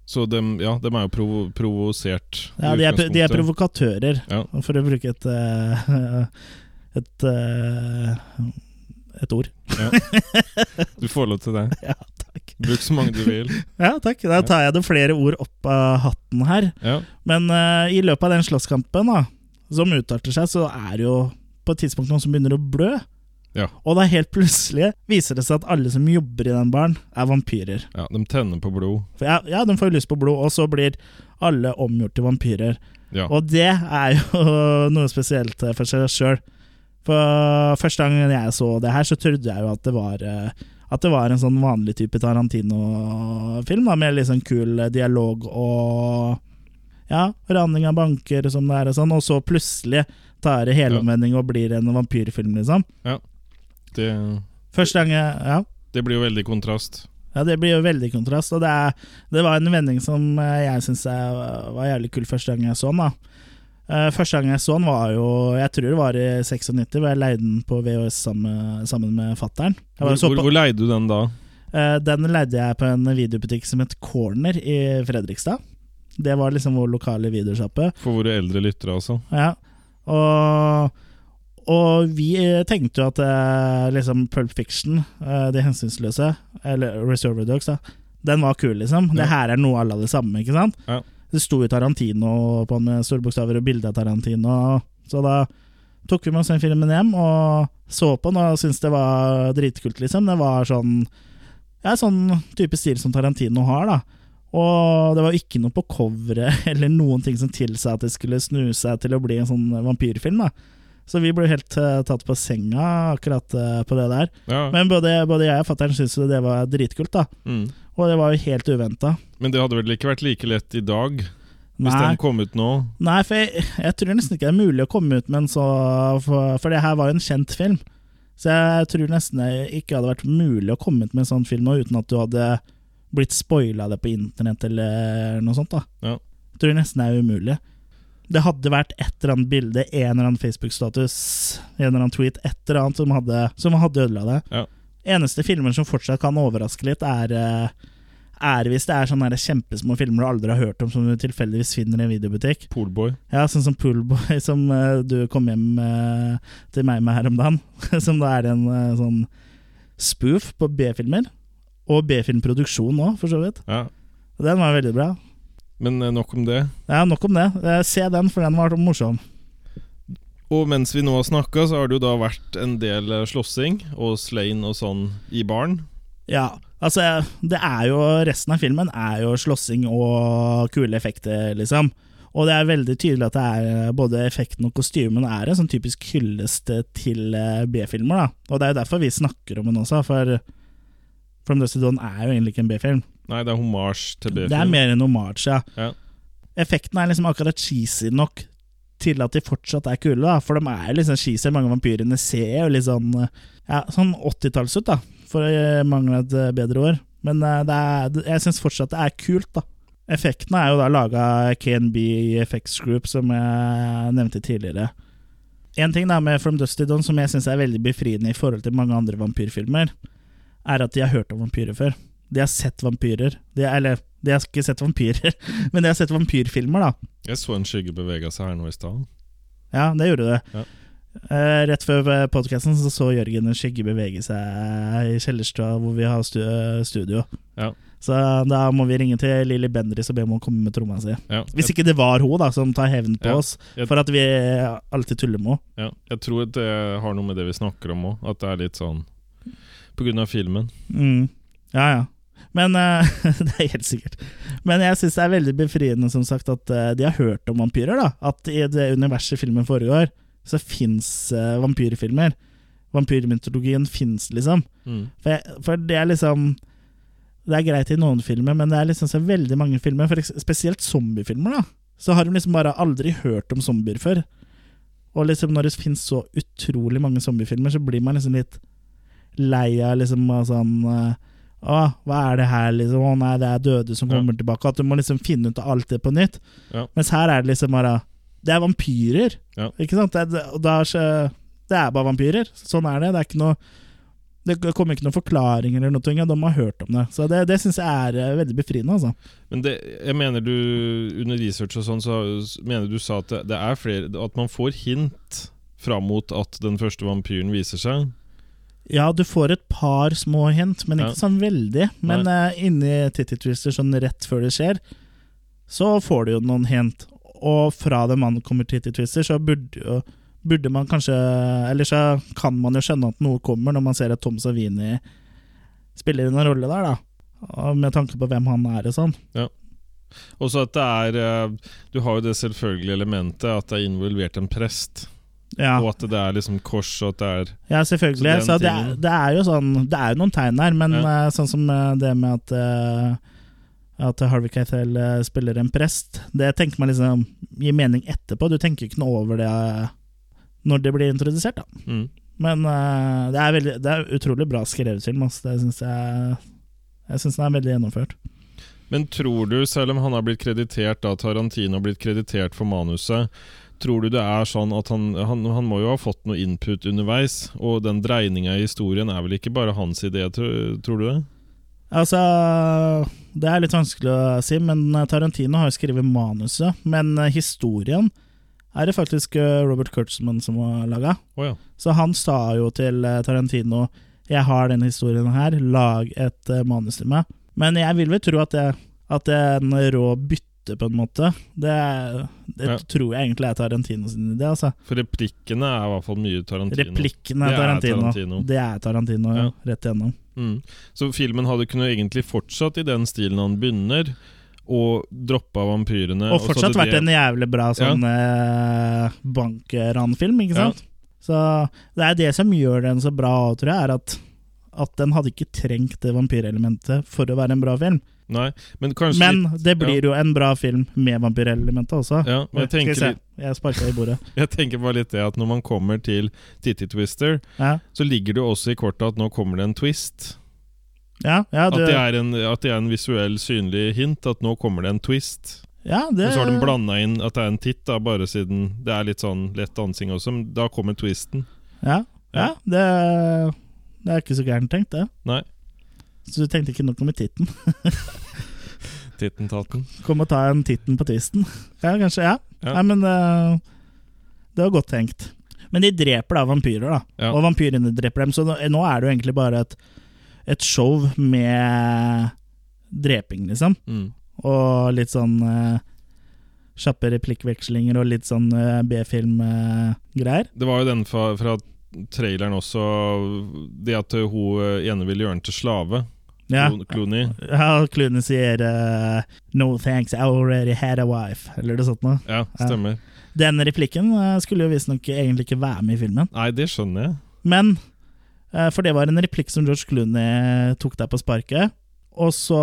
Speaker 2: Så dem, ja, dem er jo provo provosert. i
Speaker 1: Ja, de er, de er
Speaker 2: utgangspunktet.
Speaker 1: provokatører,
Speaker 2: Ja.
Speaker 1: for å bruke et eh, *laughs* et, eh, et ord.
Speaker 2: Du får lov til det.
Speaker 1: Ja, takk.
Speaker 2: Bruk så mange du
Speaker 1: *laughs*
Speaker 2: vil.
Speaker 1: Ja, takk. Da tar jeg det flere ord opp av hatten her.
Speaker 2: Ja,
Speaker 1: Men eh, i løpet av den slåsskampen da, som utarter seg, så er det jo på et tidspunkt noen som begynner å blø.
Speaker 2: Ja.
Speaker 1: Og da helt plutselig viser det seg at alle som jobber i den baren, er vampyrer.
Speaker 2: ja, De tenner på blod.
Speaker 1: For ja, ja, de får jo lyst på blod, og så blir alle omgjort til vampyrer.
Speaker 2: Ja.
Speaker 1: Og det er jo *laughs* noe spesielt eh, for seg sjøl. For første gangen jeg så det her, så trodde jeg jo at det var eh, At det var en sånn vanlig type Tarantino-film, da, med litt sånn kul eh, dialog og Ja, raning av banker som det er og sånn, og så plutselig tar det helomvending og blir en vampyrfilm, liksom.
Speaker 2: Det,
Speaker 1: Første gang jeg Ja.
Speaker 2: det blir jo veldig kontrast.
Speaker 1: Ja, Det blir jo veldig kontrast. Og det, er, det var en vending som eh, jeg syns var jævlig kul første gang jeg så den. da Eh, Første gang jeg så den, var jo Jeg tror det var i 96, hvor jeg leide den på VHS sammen, sammen med fattern. Jeg var
Speaker 2: Hvor,
Speaker 1: og så
Speaker 2: hvor,
Speaker 1: på-
Speaker 2: hvor leide du den da?
Speaker 1: Eh, Den leide jeg på en videobutikk som het Corner i Fredrikstad. Det var liksom vår lokale videosjappe.
Speaker 2: For våre eldre lyttere, altså.
Speaker 1: Ja. Og, og vi eh, tenkte jo at eh, liksom Pulp Fiction, eh, De hensynsløse, eller Reserver Dogs, da, den var kul, liksom.
Speaker 2: Ja.
Speaker 1: Det her er noe alle det samme, ikke sant?
Speaker 2: Ja.
Speaker 1: Det sto jo Tarantino på den med store bokstaver og bilde av Tarantino, så da tok vi med oss den filmen hjem og så på den og syntes det var dritkult, liksom. Det var sånn ja, sånn type stil som Tarantino har, da. Og det var ikke noe på coveret *laughs* eller noen ting som tilsa at det skulle snu seg til å bli en sånn vampyrfilm, da. Så vi ble helt eh, tatt på senga akkurat eh, på det der.
Speaker 2: Ja. Men,
Speaker 1: Men både, både jeg og fatter'n syntes jo det var dritkult, da.
Speaker 2: mm.
Speaker 1: Og det var jo helt uventa.
Speaker 2: Men det hadde vel ikke vært like lett i dag, hvis
Speaker 1: Nei,
Speaker 2: den kom ut nå?
Speaker 1: nei, for jeg, jeg tror nesten ikke det er mulig å komme ut med en så For, for det her var jo en kjent film. Så jeg tror nesten det ikke hadde vært mulig å komme ut med en sånn film nå uten at du hadde blitt spoila det på internett eller noe sånt. da
Speaker 2: Ja.
Speaker 1: Jeg tror nesten det er umulig. Det hadde vært et eller annet bilde, en eller annen Facebook-status, en eller annen tweet, et eller annet som hadde, som hadde ødela det.
Speaker 2: Ja.
Speaker 1: Eneste filmer som fortsatt kan overraske litt, er, eh, er hvis det er sånne der kjempesmå filmer du aldri har hørt om, som du tilfeldigvis finner i en videobutikk.
Speaker 2: Polboy.
Speaker 1: Ja, sånn som Poolboy, *laughs* som eh, du kom hjem eh, til meg med her om dagen. *laughs* som da er en eh, sånn spoof på B-filmer. Og B-filmproduksjon òg, for så vidt.
Speaker 2: Ja.
Speaker 1: Den var veldig bra.
Speaker 2: Men eh, nok om det.
Speaker 1: Ja, Nok om det. Eh, Se den, for den var morsom.
Speaker 2: Og mens vi nå har snakka, så har det jo da vært en del eh, slåssing og slain og sånn i baren.
Speaker 1: Ja, altså det er jo Resten av filmen er jo slåssing og kule effekter, liksom. Og det er veldig tydelig at det er eh, både effekten og kostymen er en sånn typisk hyllest til eh, B-filmer. da Og det er jo derfor vi snakker om den også, for From Dusty Dawn er jo egentlig ikke en B-film.
Speaker 2: Nei, det er hommage til
Speaker 1: Det
Speaker 2: B-film.
Speaker 1: er mer en omarsj, ja.
Speaker 2: Ja.
Speaker 1: Effekten er liksom akkurat cheesy nok til at de fortsatt er kule, da. For de er jo liksom cheesy. Mange av vampyrene ser jo litt sånn ja, sånn 80-talls ut, da. For å mangle et eh, bedre ord. Men eh, det er, jeg syns fortsatt det er kult, da. Effektene er jo da laga KNB Effects Group, som jeg nevnte tidligere. En ting da med From Dusty Dawn som jeg syns er veldig befriende i forhold til mange andre vampyrfilmer, er at de har hørt om vampyrer før. De har sett vampyrer. De, eller, de har ikke sett vampyrer, *laughs* men de har sett vampyrfilmer, da.
Speaker 2: Jeg så en skygge bevege seg her nå i stad.
Speaker 1: Ja, det gjorde det.
Speaker 2: Ja.
Speaker 1: Eh, rett før podkasten så, så Jørgen en skygge bevege seg i kjellerstua hvor vi har stu eh, studio.
Speaker 2: Ja.
Speaker 1: Så eh, da må vi ringe til Lilly Bendriss og be om å komme med tromma si.
Speaker 2: Ja.
Speaker 1: Hvis ikke det var hun da som tar hevn på
Speaker 2: Ja.
Speaker 1: oss
Speaker 2: Jeg-
Speaker 1: for at vi eh, alltid tuller med henne.
Speaker 2: Ja, jeg tror at det har noe med det vi snakker om òg, at det er litt sånn På grunn av filmen.
Speaker 1: Mm. Ja, ja. Men eh, *laughs* Det er helt sikkert. Men jeg syns det er veldig befriende som sagt at eh, de har hørt om vampyrer. da At i det universet filmen foregår, så fins vampyrfilmer. Vampyrmytologien fins, liksom.
Speaker 2: Mm.
Speaker 1: For, jeg, for det er liksom Det er greit i noen filmer, men det er liksom så veldig mange filmer, for eks- spesielt zombiefilmer, da. Så har de liksom bare aldri hørt om zombier før. Og liksom når det finnes så utrolig mange zombiefilmer, så blir man liksom litt lei av liksom av sånn eh, Å, hva er det her, liksom? Å nei, det er døde som
Speaker 2: Ja.
Speaker 1: kommer tilbake. At du må liksom finne ut av alt det på nytt.
Speaker 2: Ja.
Speaker 1: Mens her er det liksom bare Det er vampyrer,
Speaker 2: Ja.
Speaker 1: ikke sant? Det, er- og da er så- det er bare vampyrer. Sånn er det. Det er ikke noe det kommer ikke noen forklaring eller noe, ja, de har hørt om det. Så det, det syns jeg er eh, veldig befriende, altså.
Speaker 2: Men det, jeg mener du under research og sånn, så s- mener du sa at det, det er flere At man får hint fram mot at den første vampyren viser seg.
Speaker 1: Ja, du får et par små hint, men
Speaker 2: Ja.
Speaker 1: ikke sånn veldig. Men eh, inni Titty Twister, sånn rett før det skjer, så får du jo noen hint. Og fra det mannen kommer til Titty Twister, så burde, jo- burde man kanskje Eller så kan man jo skjønne at noe kommer når man ser at Tom Savini spiller en rolle der, da. Og Med tanke på hvem han er og sånn.
Speaker 2: Og så at det er eh, Du har jo det selvfølgelige elementet at det er involvert en prest.
Speaker 1: Ja,
Speaker 2: Og at det er liksom kors, og at det er
Speaker 1: ja selvfølgelig.
Speaker 2: Så den
Speaker 1: Så det, er-
Speaker 2: tingen.
Speaker 1: det er jo sånn Det er jo noen tegn her, men
Speaker 2: Ja.
Speaker 1: eh, sånn som eh, det med at eh, at Harvey Keitel eh, spiller en prest, det tenker man liksom gir mening etterpå. Du tenker ikke noe over det eh, når det blir introdusert, da.
Speaker 2: mm.
Speaker 1: Men eh, det, er veldig, det er utrolig bra skrevet film. ass. Det synes jeg Jeg syns den er veldig gjennomført.
Speaker 2: Men tror du, selv om han har blitt kreditert da, Tarantino har blitt kreditert for manuset, tror du det er sånn at han, han, han må jo ha fått noe input underveis, og den dreininga i historien er vel ikke bare hans idé, tror, tror du det?
Speaker 1: Altså Det er litt vanskelig å si, men eh, Tarantino har jo skrevet manuset. Men eh, historien er det faktisk eh, Robert Kurtzman som har laga.
Speaker 2: Å ja.
Speaker 1: Så han sa jo til eh, Tarantino Jeg har denne historien her, lag et eh, manus til meg. Men jeg vil vel tro at det, at det er en rå bytte, på en måte. Det, er- det
Speaker 2: Ja.
Speaker 1: tror jeg egentlig er Tarantino sin idé, altså.
Speaker 2: For replikkene er i hvert fall mye Tarantino.
Speaker 1: Replikkene
Speaker 2: Det
Speaker 1: er
Speaker 2: er
Speaker 1: Tarantino.
Speaker 2: Tarantino.
Speaker 1: Det er Tarantino
Speaker 2: Ja.
Speaker 1: rett igjennom.
Speaker 2: Mm. Så filmen hadde kunnet egentlig fortsatt i den stilen han begynner, og droppa vampyrene.
Speaker 1: Og fortsatt vært en jævlig bra
Speaker 2: Ja.
Speaker 1: sånn eh, bankranfilm, ikke sant? Så det er det som gjør den så bra, tror jeg, er at, at den hadde ikke trengt det vampyrelementet for å være en bra film.
Speaker 2: Nei, men kanskje
Speaker 1: Men
Speaker 2: litt-
Speaker 1: det blir jo en bra film med vampyrelementet også.
Speaker 2: ja, men
Speaker 1: Skal
Speaker 2: jeg
Speaker 1: vi
Speaker 2: tenker,
Speaker 1: se,
Speaker 2: litt-
Speaker 1: jeg sparka i bordet.
Speaker 2: *laughs* jeg tenker bare litt det at når man kommer til Titty Twister,
Speaker 1: Ja,
Speaker 2: så ligger det jo også i kortet at nå kommer det en twist.
Speaker 1: ja, ja,
Speaker 2: At
Speaker 1: du,
Speaker 2: det er en, at det er en visuell, synlig hint at nå kommer det en twist.
Speaker 1: ja, det,
Speaker 2: Og så har de blanda inn at det er en titt, da, bare siden det er litt sånn lett dansing også. Men da kommer twisten.
Speaker 1: ja, ja, det, det er ikke så gærent tenkt, det.
Speaker 2: Nei.
Speaker 1: Så du tenkte ikke nok om i titten?
Speaker 2: Titten tatten.
Speaker 1: Kom og ta en titten på twisten. *laughs* Ja, kanskje. Ja.
Speaker 2: Ja.
Speaker 1: Nei, men eh, Det var godt tenkt. Men de dreper da vampyrer, da.
Speaker 2: Ja.
Speaker 1: Og vampyrene dreper dem, så nå, nå er det jo egentlig bare et, et show med dreping, liksom.
Speaker 2: Mm.
Speaker 1: Og litt sånn eh, kjappe replikkvekslinger og litt sånn eh, B-film-greier.
Speaker 2: Det var jo den fra, fra traileren også, det at hun eh, ene ville gjøre den til slave.
Speaker 1: ja.
Speaker 2: Clo- Clooney.
Speaker 1: ja, og Clooney sier eh, 'No thanks, I already had a wife', eller noe sånt noe.
Speaker 2: Ja, stemmer.
Speaker 1: Den replikken eh, skulle jo visstnok egentlig ikke være med i filmen.
Speaker 2: Nei, det skjønner jeg.
Speaker 1: Men eh, For det var en replikk som George Clooney eh, tok der på sparket. Og så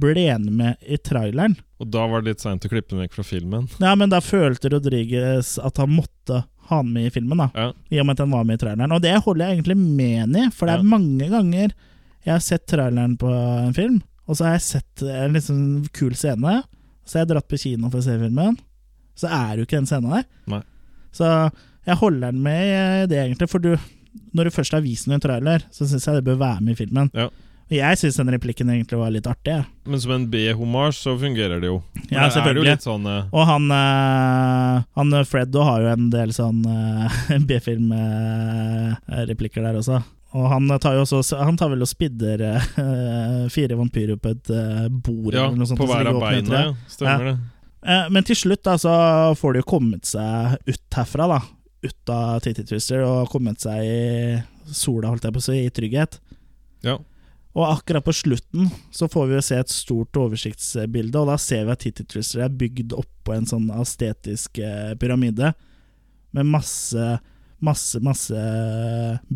Speaker 1: ble han med i traileren.
Speaker 2: Og da var det litt seint å klippe den vekk fra filmen.
Speaker 1: Ja, men da følte Rodriguez at han måtte ha han med i filmen, da.
Speaker 2: Ja.
Speaker 1: I og med at han var med i traileren. Og det holder jeg egentlig med han i, for det
Speaker 2: Ja.
Speaker 1: er mange ganger jeg har sett traileren på en film, og så har jeg sett en litt sånn kul scene, så har jeg dratt på kino for å se filmen, så er det jo ikke den scenen der.
Speaker 2: Nei.
Speaker 1: Så jeg holder den med i det, egentlig, for du, når du først har vist den i en trailer, så syns jeg det bør være med i filmen.
Speaker 2: Ja.
Speaker 1: Og jeg syns den replikken egentlig var litt artig. jeg.
Speaker 2: Men som en B-hommage så fungerer det jo.
Speaker 1: Ja,
Speaker 2: For det er jo
Speaker 1: selvfølgelig.
Speaker 2: litt sånn eh,
Speaker 1: Og han, eh, han Freddo har jo en del sånn eh, *laughs* B-film-replikker der også. Og han tar jo også Han tar vel og spidder eh, *laughs* fire vampyrer på et eh, bord
Speaker 2: Ja,
Speaker 1: eller noe sånt.
Speaker 2: på
Speaker 1: og så
Speaker 2: hver av
Speaker 1: ligger åpne i
Speaker 2: beina.
Speaker 1: tre.
Speaker 2: Ja. Stemmer det.
Speaker 1: Eh, Men til slutt da så får de jo kommet seg ut herfra, da. Ut av Titty Twister og kommet seg i sola, holdt jeg på å si, i trygghet.
Speaker 2: Ja.
Speaker 1: Og akkurat på slutten så får vi jo se et stort oversiktsbilde, og da ser vi at Titty Twister er bygd oppå en sånn estetisk eh, pyramide med masse, masse, masse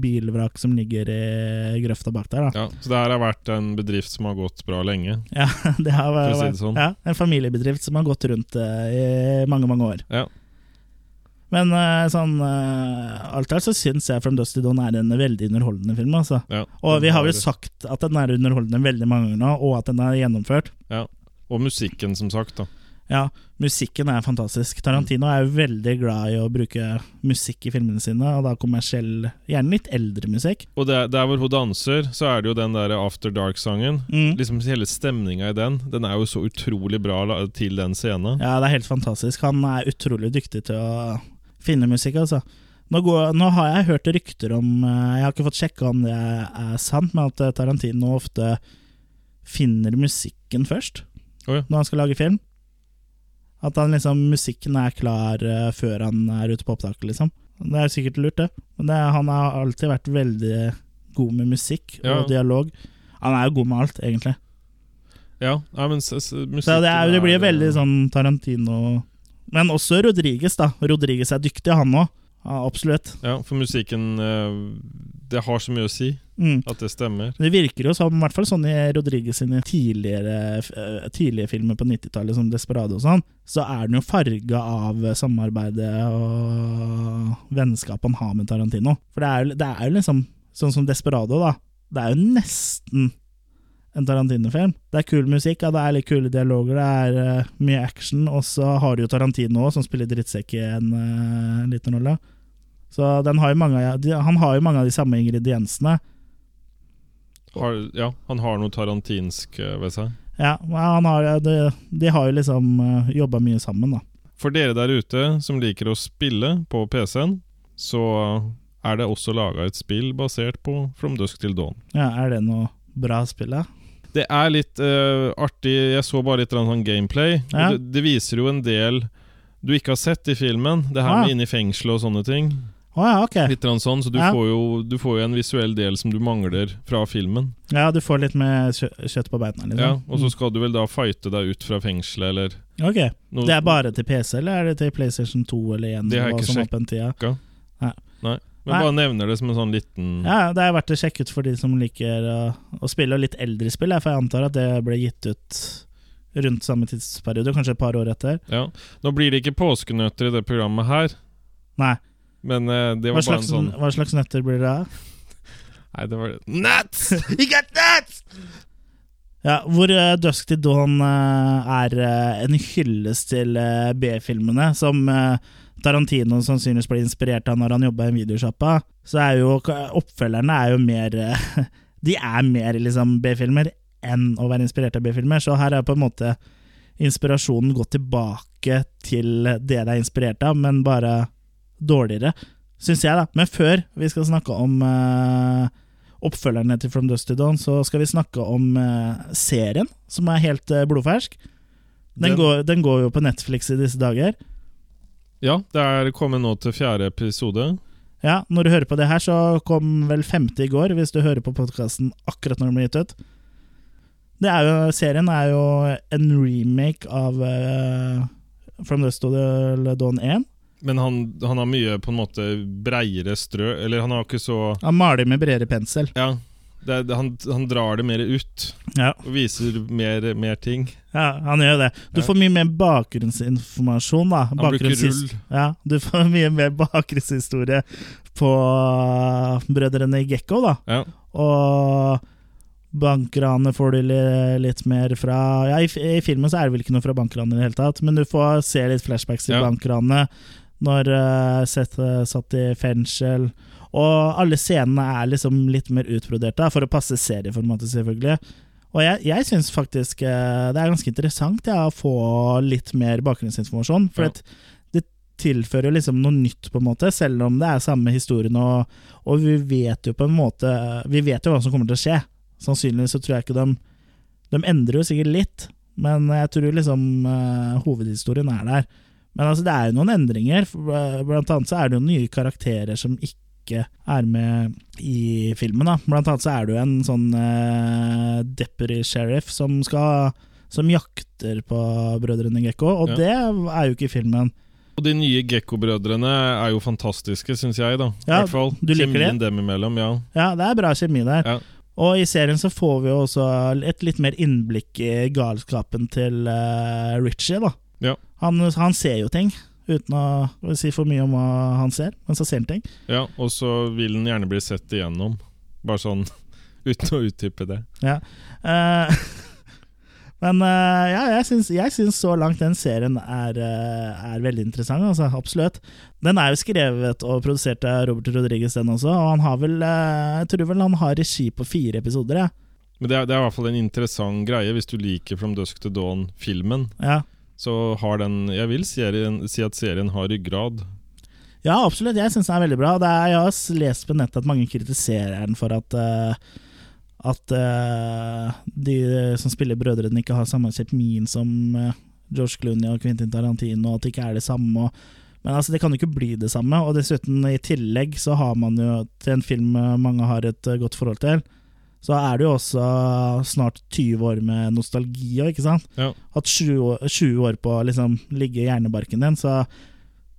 Speaker 1: bilvrak som ligger i grøfta bak der, da.
Speaker 2: ja. Så det her har vært en bedrift som har gått bra lenge.
Speaker 1: Ja, *laughs* det har
Speaker 2: å
Speaker 1: vært
Speaker 2: si det sånn.
Speaker 1: ja, en familiebedrift som har gått rundt eh, i mange, mange år.
Speaker 2: Ja.
Speaker 1: Men eh, sånn eh, alt her så syns jeg From Dusty Dawn er en veldig underholdende film. altså.
Speaker 2: ja.
Speaker 1: Og vi har vel
Speaker 2: Den
Speaker 1: sagt at den er underholdende veldig mange ganger nå, og at den er gjennomført.
Speaker 2: ja. Og musikken, som sagt. da
Speaker 1: Ja, musikken er fantastisk. Tarantino er jo veldig glad i å bruke musikk i filmene sine, og da kommersiell, gjerne litt eldre musikk.
Speaker 2: Og der, der hvor hun danser, så er det jo den der After Dark-sangen.
Speaker 1: Mm.
Speaker 2: Liksom Hele stemninga i den Den er jo så utrolig bra la- til den scenen.
Speaker 1: Ja, det er helt fantastisk. Han er utrolig dyktig til å finne musikk, altså. Nå, går, nå har jeg hørt rykter om eh, Jeg har ikke fått sjekka om det er sant, men at eh, Tarantino ofte finner musikken først
Speaker 2: Å ja.
Speaker 1: når han skal lage film. At han liksom, musikken er klar eh, før han er ute på opptaket, liksom. Det er sikkert lurt, det. Men det, han har alltid vært veldig god med musikk
Speaker 2: Ja.
Speaker 1: og dialog. Han er jo god med alt, egentlig.
Speaker 2: Ja, nei, men s- s- musikken
Speaker 1: Så det, er, det blir
Speaker 2: er, eh,
Speaker 1: veldig sånn Tarantino Men også Rodriguez, da. Rodriguez er dyktig, han òg. Ja, absolutt.
Speaker 2: Ja, for musikken eh, Det har så mye å si
Speaker 1: Mm.
Speaker 2: at det stemmer.
Speaker 1: Det virker jo som, i hvert fall sånn i Rodriguez sine tidligere, eh, tidlige filmer på 90-tallet, som Desperado og sånn, så er den jo farga av samarbeidet og vennskapet han har med Tarantino. For det er, jo- det er jo liksom sånn som Desperado, da. Det er jo nesten en Tarantino-film. Det er kul musikk, ja, det er litt kule dialoger, det er eh, mye action, og så har du jo Tarantino òg, som spiller drittsekk i en eh, liten rolle. Så den har jo mange, av- de- han har jo mange av de samme ingrediensene.
Speaker 2: Har, ja, han har noe tarantinsk eh, ved seg.
Speaker 1: Ja, men han har, de, de har jo liksom uh, jobba mye sammen, da.
Speaker 2: For dere der ute som liker å spille på PC-en, så er det også laga et spill basert på From Dusk til Dawn.
Speaker 1: Ja, er det noe bra spill, da?
Speaker 2: Det er litt eh, artig Jeg så bare litt sånn gameplay. og
Speaker 1: Ja.
Speaker 2: Det, det viser jo en del du ikke har sett i filmen. Det
Speaker 1: Ah.
Speaker 2: her med inne i fengselet og sånne ting.
Speaker 1: Å ja, ok.
Speaker 2: Litt grann sånn, Så du,
Speaker 1: Ja.
Speaker 2: får jo, du får jo en visuell del som du mangler fra filmen.
Speaker 1: Ja, du får litt med kjø kjøtt på beina,
Speaker 2: Ja,
Speaker 1: liksom?
Speaker 2: Og så skal du vel da fighte deg ut fra fengselet, eller
Speaker 1: Ok.
Speaker 2: noe
Speaker 1: Det er bare til PC, eller er det til PlayStation 2 eller 1?
Speaker 2: Det har jeg ikke sjekket.
Speaker 1: sjekket.
Speaker 2: Men
Speaker 1: Nei.
Speaker 2: bare nevner det som en sånn liten
Speaker 1: Ja, det er verdt å sjekke ut for de som liker å, å spille og litt eldre spill, ja, for jeg antar at det ble gitt ut rundt samme tidsperiode, kanskje et par år etter.
Speaker 2: Ja. Nå blir det ikke påskenøtter i det programmet her,
Speaker 1: Nei,
Speaker 2: men eh, det
Speaker 1: hva
Speaker 2: var bare en
Speaker 1: slags,
Speaker 2: sånn
Speaker 1: hva slags nøtter blir det av?
Speaker 2: Nei, det var Nuts! You got nuts!
Speaker 1: Ja, hvor eh, Dusk til Dawn eh, er eh, en hyllest til eh, B-filmene, som eh, Tarantino sannsynligvis ble inspirert av når han jobba i videosjappa. Så er jo oppfølgerne er jo mer *laughs* eh, De er mer liksom B-filmer enn å være inspirert av B-filmer, så her er på en måte inspirasjonen gått tilbake til det det er inspirert av, men bare dårligere, syns jeg, da. Men før vi skal snakke om eh, oppfølgerne til From Dust to Dawn, så skal vi snakke om eh, serien, som er helt eh, blodfersk. Den,
Speaker 2: Den-
Speaker 1: Går, den går jo på Netflix i disse dager.
Speaker 2: Ja, det er kommet nå til fjerde episode.
Speaker 1: Ja, Når du hører på det her, så kom vel femte i går, hvis du hører på podkasten akkurat når den blir gitt ut. Det er jo, serien er jo en remake av eh, From Dust to Dawn 1.
Speaker 2: Men han, han har mye på en måte breiere strø Eller han har ikke så
Speaker 1: Han maler med bredere pensel.
Speaker 2: Ja, det, er- det, han, han drar det mer ut
Speaker 1: Ja,
Speaker 2: og viser mer, mer ting.
Speaker 1: ja han gjør det. Du
Speaker 2: Ja.
Speaker 1: får mye mer bakgrunnsinformasjon, da.
Speaker 2: Han bruker
Speaker 1: Bakgrunnshis-
Speaker 2: rull.
Speaker 1: Ja, du får mye mer bakgrunnshistorie på eh, brødrene Gekko, da.
Speaker 2: Ja.
Speaker 1: Og bankranet får du li- litt mer fra Ja, i, fi- i filmen så er det vel ikke noe fra bankranet i det hele tatt, men du får se litt flashbacks til
Speaker 2: Ja.
Speaker 1: bankranet når uh, Seth eh, satt i fengsel. Og alle scenene er liksom litt mer utbrodert, da, for å passe serieformatet, selvfølgelig. Og jeg, jeg syns faktisk eh, det er ganske interessant ja, å få litt mer bakgrunnsinformasjon. For
Speaker 2: Ja.
Speaker 1: at det tilfører liksom noe nytt, på en måte, selv om det er samme historien. Og, og vi vet jo på en måte Vi vet jo hva som kommer til å skje. Sannsynligvis så tror jeg ikke de De endrer jo sikkert litt, men jeg tror liksom eh, hovedhistorien er der. Men altså, det er jo noen endringer. for, eh, Blant annet så er det jo nye karakterer som ikke er med i filmen. da Blant annet så er det jo en sånn eh, deputy sheriff som skal Som jakter på brødrene Gekko, og
Speaker 2: Ja.
Speaker 1: det er jo ikke i filmen.
Speaker 2: Og de nye Gekko-brødrene er jo fantastiske, syns jeg. da I
Speaker 1: Ja,
Speaker 2: hvert fall.
Speaker 1: du liker
Speaker 2: Kjemien dem imellom, ja.
Speaker 1: Ja, det er bra kjemi der.
Speaker 2: Ja.
Speaker 1: Og i serien så får vi jo også et litt mer innblikk i galskapen til eh, Richie, da.
Speaker 2: Ja.
Speaker 1: Han, han ser jo ting, uten å si for mye om hva han ser, men så ser han ting.
Speaker 2: ja. Og så vil den gjerne bli sett igjennom. Bare sånn *laughs* uten å utdype det.
Speaker 1: Eh, *laughs* men eh, ja, jeg syns, jeg syns så langt den serien er, eh, er veldig interessant, altså. Absolutt. Den er jo skrevet og produsert av Robert Rodriguez, den også, og han har vel eh, Jeg tror vel han har regi på fire episoder, jeg.
Speaker 2: Men det er, det er i hvert fall en interessant greie hvis du liker From Dusk to Dawn-filmen.
Speaker 1: Ja.
Speaker 2: Så har den Jeg vil serien, si at serien har ryggrad.
Speaker 1: Ja, absolutt. Jeg syns den er veldig bra. Det er, jeg har s- lest på nettet at mange kritiserer den for at eh, At eh, de som spiller brødrene, ikke har samme kjemi som eh, George Clooney og Quentin Tarantino, at det ikke er det samme. Og, men altså, det kan jo ikke bli det samme. Og dessuten, i tillegg så har man jo til en film eh, mange har et eh, godt forhold til, så er det jo også snart 20 år med nostalgi og ikke sant?
Speaker 2: Ja.
Speaker 1: Hatt 20 år, 20 år på å liksom, ligge i hjernebarken din, så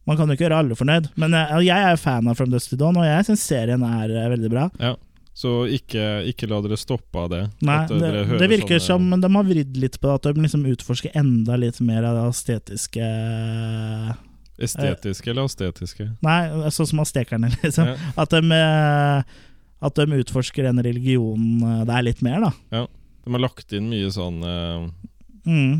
Speaker 1: man kan jo ikke gjøre alle fornøyd. Men eh, jeg, jeg er jo fan av From Dust to Dawn, og jeg syns serien er eh, veldig bra.
Speaker 2: Ja. Så ikke, ikke la dere stoppe av det.
Speaker 1: Nei,
Speaker 2: at eh,
Speaker 1: det,
Speaker 2: dere hører
Speaker 1: det virker
Speaker 2: sånne-
Speaker 1: som de har vridd litt på det, at de liksom utforsker enda litt mer av det estetiske
Speaker 2: Estetiske eller astetiske?
Speaker 1: Nei, sånn som aztekerne, *laughs* liksom.
Speaker 2: Ja.
Speaker 1: At, de, eh, at de utforsker den religionen eh, der litt mer, da.
Speaker 2: De har lagt inn mye sånn eh,
Speaker 1: Mm.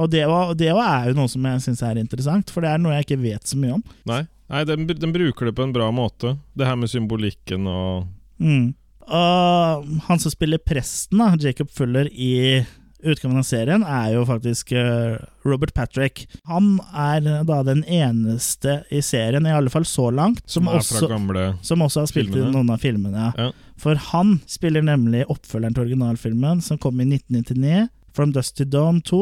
Speaker 1: Og det, var- det er jo noe som jeg syns er interessant, for det er noe jeg ikke vet så mye om.
Speaker 2: Nei, Nei den, br- den bruker det på en bra måte. Det her med symbolikken og
Speaker 1: Mm. Og han som spiller presten, da, Jacob Fuller, i utgaven av serien, er jo faktisk eh, Robert Patrick. Han er da den eneste i serien, i alle fall så langt, som,
Speaker 2: Som er fra
Speaker 1: også,
Speaker 2: gamle
Speaker 1: som også har spilt
Speaker 2: filmene.
Speaker 1: i noen av filmene.
Speaker 2: Ja.
Speaker 1: For han spiller nemlig oppfølgeren til originalfilmen, som kom i 1999, From Dust to Dawn 2,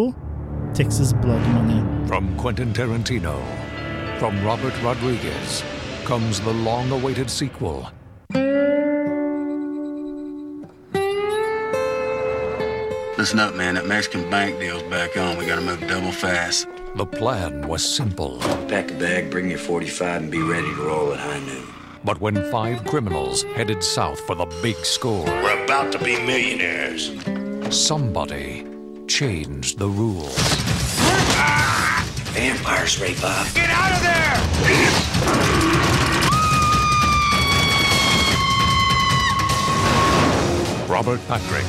Speaker 1: Texas Blood Money.
Speaker 6: From Quentin Tarantino, from Robert Rodriguez, comes the long awaited sequel.
Speaker 7: Listen up, man. That Mexican bank deal's back on. We gotta move double fast.
Speaker 6: The plan was simple,
Speaker 7: Pack a bag, bring your 45, and be ready to roll at high noon.
Speaker 6: but when five criminals headed south for the big score,
Speaker 8: We're about to be millionaires.
Speaker 6: somebody changed the rules.
Speaker 7: Vampires, Ray Bob.
Speaker 8: Get out of there!
Speaker 6: Robert Patrick,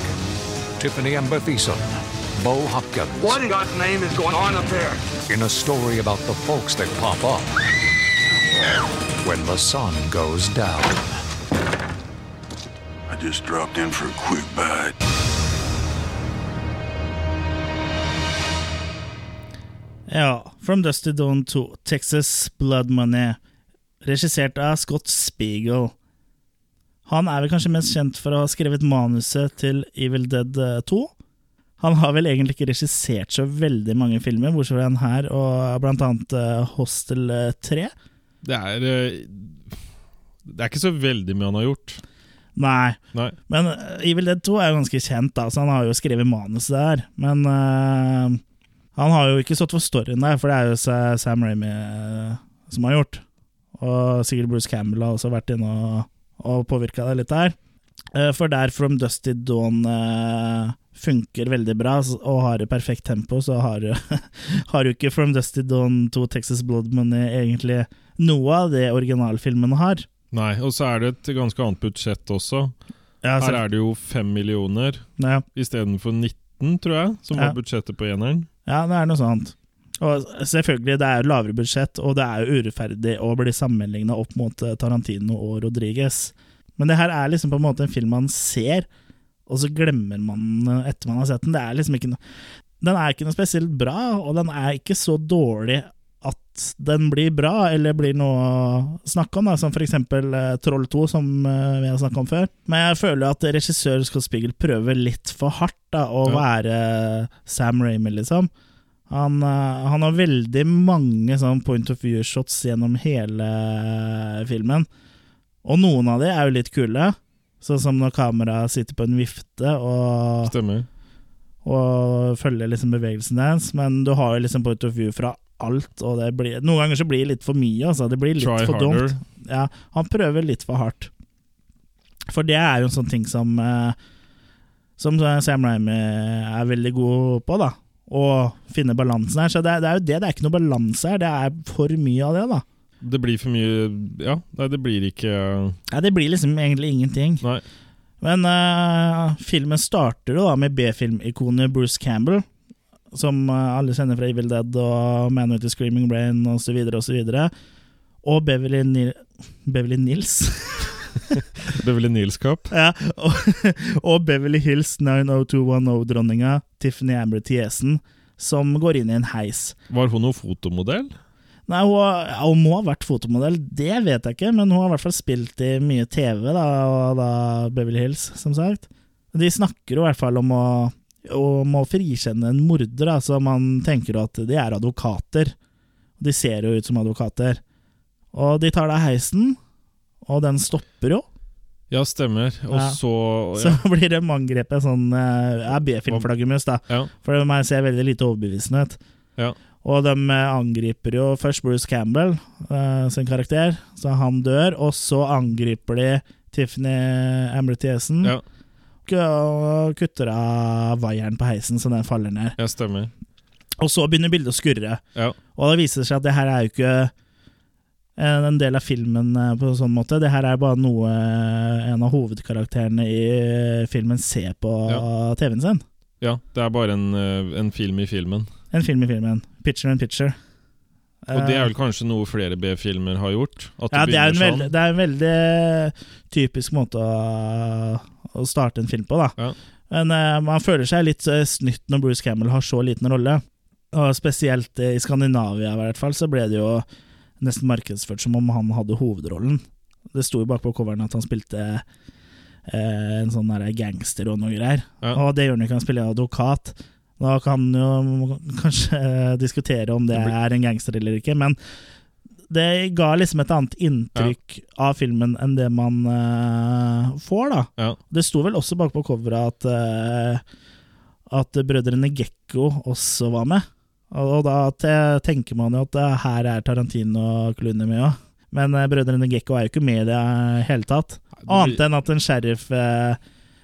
Speaker 6: Tiffany Amber Thiessen, Bo Hopkins.
Speaker 8: What in God's name is going on up there?
Speaker 6: in a story about the folks that pop up when the sun goes down.
Speaker 7: I just dropped in for a quick bite.
Speaker 1: Ja, From Dusty Dawn 2, Texas Blood Money, regissert av Scott Spiegel. Han er vel kanskje mest kjent for å ha skrevet manuset til Evil Dead eh, 2. Han har vel egentlig ikke regissert så veldig mange filmer, bortsett fra den her og blant annet eh, Hostel eh, 3.
Speaker 2: Det er eh, Det er ikke så veldig mye han har gjort.
Speaker 1: Nei,
Speaker 2: Nei.
Speaker 1: men eh, Evil Dead 2 er jo ganske kjent, da, så han har jo skrevet manuset der. Men eh, han har jo ikke stått for storyen der, for det er jo Sa- Sam Ramy eh, som har gjort. Og sikkert Bruce Campbell har også vært inne og, og påvirka det litt der. Eh, For der From Dusty Dawn eh, funker veldig bra s- og har et perfekt tempo, så har *laughs* jo- har jo ikke From Dusty Dawn 2 Texas Blood Money egentlig noe av det originalfilmen har.
Speaker 2: Nei, Og så er det et ganske annet budsjett også.
Speaker 1: Ja,
Speaker 2: Her
Speaker 1: så,
Speaker 2: er det jo fem millioner
Speaker 1: ja.
Speaker 2: istedenfor 19, tror jeg, som
Speaker 1: Ja.
Speaker 2: var budsjettet på eneren.
Speaker 1: Ja, det er noe sånt. Og selvfølgelig, det er jo lavere budsjett, og det er jo urettferdig å bli sammenligna opp mot eh, Tarantino og Rodriguez. Men det her er liksom på en måte en film man ser, og så glemmer man den etter man har sett den. Det er liksom ikke noe Den er ikke noe spesielt bra, og den er ikke så dårlig at den blir bra, eller blir noe å snakke om, da, som for eksempel eh, Troll 2, som eh, vi har snakket om før. Men jeg føler at regissør Scott Spiegel prøver litt for hardt da, å være Sam Ramy, liksom. Han, eh, han har veldig mange sånn point of view-shots gjennom hele filmen. Og noen av de er jo litt kule, sånn som når kameraet sitter på en vifte og
Speaker 2: Stemmer.
Speaker 1: og følge liksom bevegelsen deres, men du har jo liksom point of view fra alt, og det blir, noen ganger så blir det litt for mye, altså. Det blir litt
Speaker 2: Try
Speaker 1: for
Speaker 2: harder.
Speaker 1: dumt. Ja, han prøver litt for hardt. For det er jo en sånn ting som eh, Som eh, Sam Ramy er veldig god på, da. Å finne balansen her. Så det, er- det er jo det. Det er ikke noe balanse her. Det er for mye av det, da.
Speaker 2: Det blir for mye Ja, nei, det blir ikke
Speaker 1: Ja, det blir liksom egentlig ingenting.
Speaker 2: Nei.
Speaker 1: Men eh, filmen starter jo da med B-filmikonet Bruce Campbell, som eh, alle kjenner fra Evil Dead og Man with the Screaming Brain osv. Og, så videre, og, så videre. og Beverly, Nil Beverly Nils *laughs*
Speaker 2: Beverly Nils Cup.
Speaker 1: ja, og, *laughs* og Beverly Hills 90210-dronninga Tiffany Amber Thiesen, som går inn i en heis.
Speaker 2: Var hun noen fotomodell?
Speaker 1: Nei, hun, ja, hun må ha vært fotomodell, det vet jeg ikke, men hun har i hvert fall spilt i mye TV, da, og da Beverly Hills, som sagt. De snakker jo i hvert fall om å og må frikjenne en morder. Altså man tenker jo at de er advokater. De ser jo ut som advokater. Og de tar da heisen, og den stopper jo.
Speaker 2: Ja, stemmer. Og
Speaker 1: Ja.
Speaker 2: så
Speaker 1: Så *laughs*
Speaker 2: ja.
Speaker 1: blir det angrepet sånn eh, er B-filmflaggermus, da.
Speaker 2: ja,
Speaker 1: For det må jeg se veldig lite overbevisende ut.
Speaker 2: ja.
Speaker 1: Og de eh, angriper jo først Bruce Campbell eh, sin karakter, så han dør. Og så angriper de Tiffany Ambritiesen
Speaker 2: Ja,
Speaker 1: og kutter av vaieren på heisen så den faller ned.
Speaker 2: ja stemmer.
Speaker 1: Og så begynner bildet å skurre.
Speaker 2: Ja.
Speaker 1: Og det viser seg at det her er jo ikke en en del av filmen eh, på en sånn måte. Det her er bare noe eh, en av hovedkarakterene i filmen ser på
Speaker 2: Ja.
Speaker 1: TV-en sin.
Speaker 2: ja, det er bare en, eh, en film i filmen.
Speaker 1: En film i filmen. Picture in picture.
Speaker 2: Og det er vel kanskje noe flere B-filmer har gjort? At
Speaker 1: Eh. ja, det er, en
Speaker 2: begynner
Speaker 1: veldig,
Speaker 2: sånn.
Speaker 1: det er en veldig typisk måte å, å starte en film på, da.
Speaker 2: Ja.
Speaker 1: Men eh, man føler seg litt eh, snytt når Bruce Campbell har så liten rolle. Og spesielt eh, i Skandinavia, i hvert fall, så ble det jo nesten markedsført som om han hadde hovedrollen. Det sto jo bakpå coveren at han spilte eh, en sånn der gangster og noe greier.
Speaker 2: Ja.
Speaker 1: Og det gjør han jo ikke, han spiller advokat. Da kan han jo *laughs* kanskje eh, diskutere om det
Speaker 2: Det blir-
Speaker 1: er en gangster eller ikke, men det ga liksom et annet inntrykk av filmen enn det man eh, får, da.
Speaker 2: Ja,
Speaker 1: Det sto vel også bakpå coveret at eh, At brødrene Gekko også var med. Og, og da te- tenker man jo at eh, her er Tarantino og Clooney med òg. Men eh, brødrene Gekko er jo ikke med i det eh, hele tatt.
Speaker 2: det blir-
Speaker 1: Annet enn at en sheriff eh,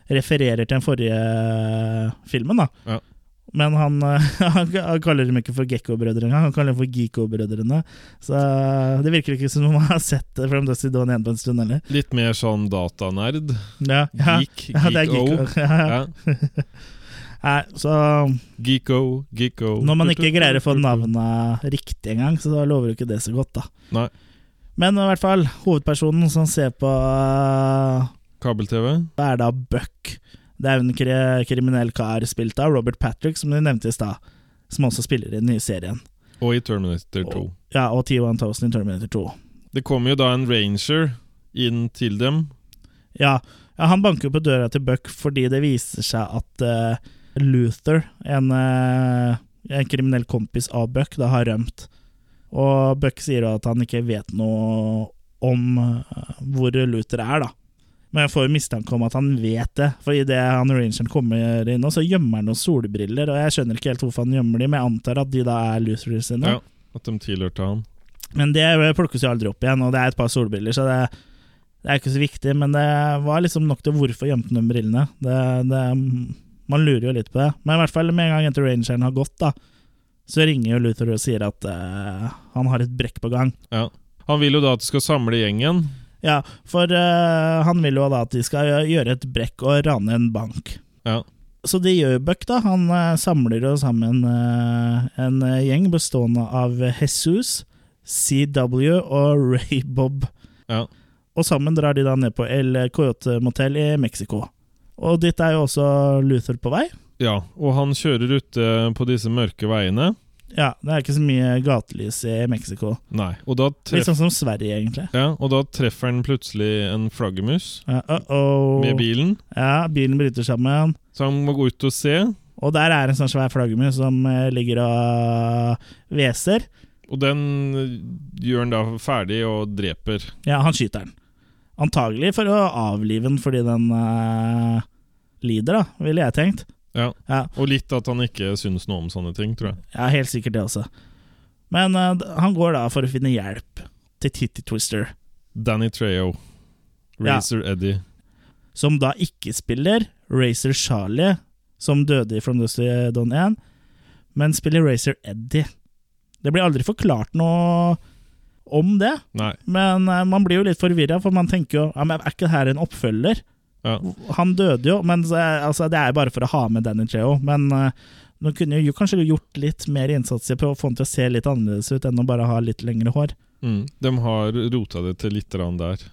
Speaker 1: refererer til den forrige eh, filmen, da.
Speaker 2: Ja.
Speaker 1: Men han, eh, *laughs* han, han kaller dem ikke for Gekko-brødrene engang, han kaller dem for Geeko-brødrene. Så eh, det virker ikke som om han har sett eh, From Dusty Dawn igjen på en stund heller.
Speaker 2: Litt mer sånn datanerd.
Speaker 1: Ja, ja.
Speaker 2: Geek,
Speaker 1: *laughs* Ja, det er
Speaker 2: geek-o.
Speaker 1: Geeko. Ja, ja.
Speaker 2: Ja.
Speaker 1: Nei, så
Speaker 2: Geeko, geeko
Speaker 1: når man ikke greier å få navnet riktig engang, så da lover jo ikke det så godt, da.
Speaker 2: Nei.
Speaker 1: Men i hvert fall, hovedpersonen som ser på øh,
Speaker 2: Kabel-TV?
Speaker 1: er da Buck. Det er jo en kri- kriminell kar spilt av Robert Patrick, som du nevnte i stad, som også spiller i den nye serien.
Speaker 2: Og i Terminator 2.
Speaker 1: Og- Ja, og T1000 i Terminator 2.
Speaker 2: Det kommer jo da en ranger inn til dem.
Speaker 1: Ja, ja han banker jo på døra til Buck fordi det viser seg at eh, Luther, en, eh, en kriminell kompis av Buck, da har rømt. Og Buck sier jo at han ikke vet noe om eh, hvor Luther er, da. Men jeg får jo mistanke om at han vet det, for idet han rangeren kommer inn, nå, så gjemmer han noen solbriller, og jeg skjønner ikke helt hvorfor han gjemmer de, men jeg antar at de da er Luther sine.
Speaker 2: Ja, At de tilhørte han.
Speaker 1: Men det plukkes jo aldri opp igjen, og det er et par solbriller, så det, det er ikke så viktig. Men det var liksom nok til hvorfor gjemte de brillene. Det, det, man lurer jo litt på det. Men i hvert fall med en gang etter rangeren har gått, da, så ringer jo Luther og sier at eh, han har et brekk på gang.
Speaker 2: Ja. Han vil jo da at de skal samle gjengen.
Speaker 1: Ja, for eh, han vil jo da at de skal gjøre et brekk og rane en bank.
Speaker 2: Ja.
Speaker 1: Så det gjør jo Buck, da. Han eh, samler jo sammen eh, en eh, gjeng bestående av Jesus, CW og Ray Bob.
Speaker 2: Ja.
Speaker 1: Og sammen drar de da ned på El Coyote Motel i Mexico. Og dit er jo også Luther på vei.
Speaker 2: ja. Og han kjører ute på disse mørke veiene.
Speaker 1: Ja, det er ikke så mye gatelys i Mexico.
Speaker 2: Nei. Og da,
Speaker 1: Litt
Speaker 2: treff,
Speaker 1: sånn som Sverige, egentlig.
Speaker 2: ja, og da treffer han plutselig en flaggermus
Speaker 1: Ja, Uh-oh.
Speaker 2: med bilen.
Speaker 1: Ja, bilen bryter sammen.
Speaker 2: Så han må gå ut og se.
Speaker 1: Og der er en sånn svær flaggermus som eh, ligger og hveser.
Speaker 2: Og den eh, gjør han da ferdig og dreper.
Speaker 1: Ja, han skyter den. Antagelig for å avlive den fordi den eh, lider, da, ville jeg tenkt.
Speaker 2: Ja.
Speaker 1: Ja.
Speaker 2: Og litt at han ikke syns noe om sånne ting, tror jeg.
Speaker 1: Ja, helt sikkert det også. Men eh, d- han går da for å finne hjelp til Titty Twister,
Speaker 2: Danny Trejo.
Speaker 1: Ja.
Speaker 2: Racer Eddie.
Speaker 1: som da ikke spiller Racer Charlie, som døde i From Dusty Don 1, men spiller Racer Eddie. Det blir aldri forklart noe om det,
Speaker 2: Nei.
Speaker 1: men eh, man blir jo litt forvirra, for man tenker jo ja, men Er ikke det her en oppfølger?
Speaker 2: Ja.
Speaker 1: Han døde jo, men så er- altså, det er jo bare for å ha med Danny Cheo. Men eh, man kunne jo kanskje gjort litt mer innsats på å få han til å se litt annerledes ut enn å bare ha litt lengre hår.
Speaker 2: Mm. De har rota det til litt grann der.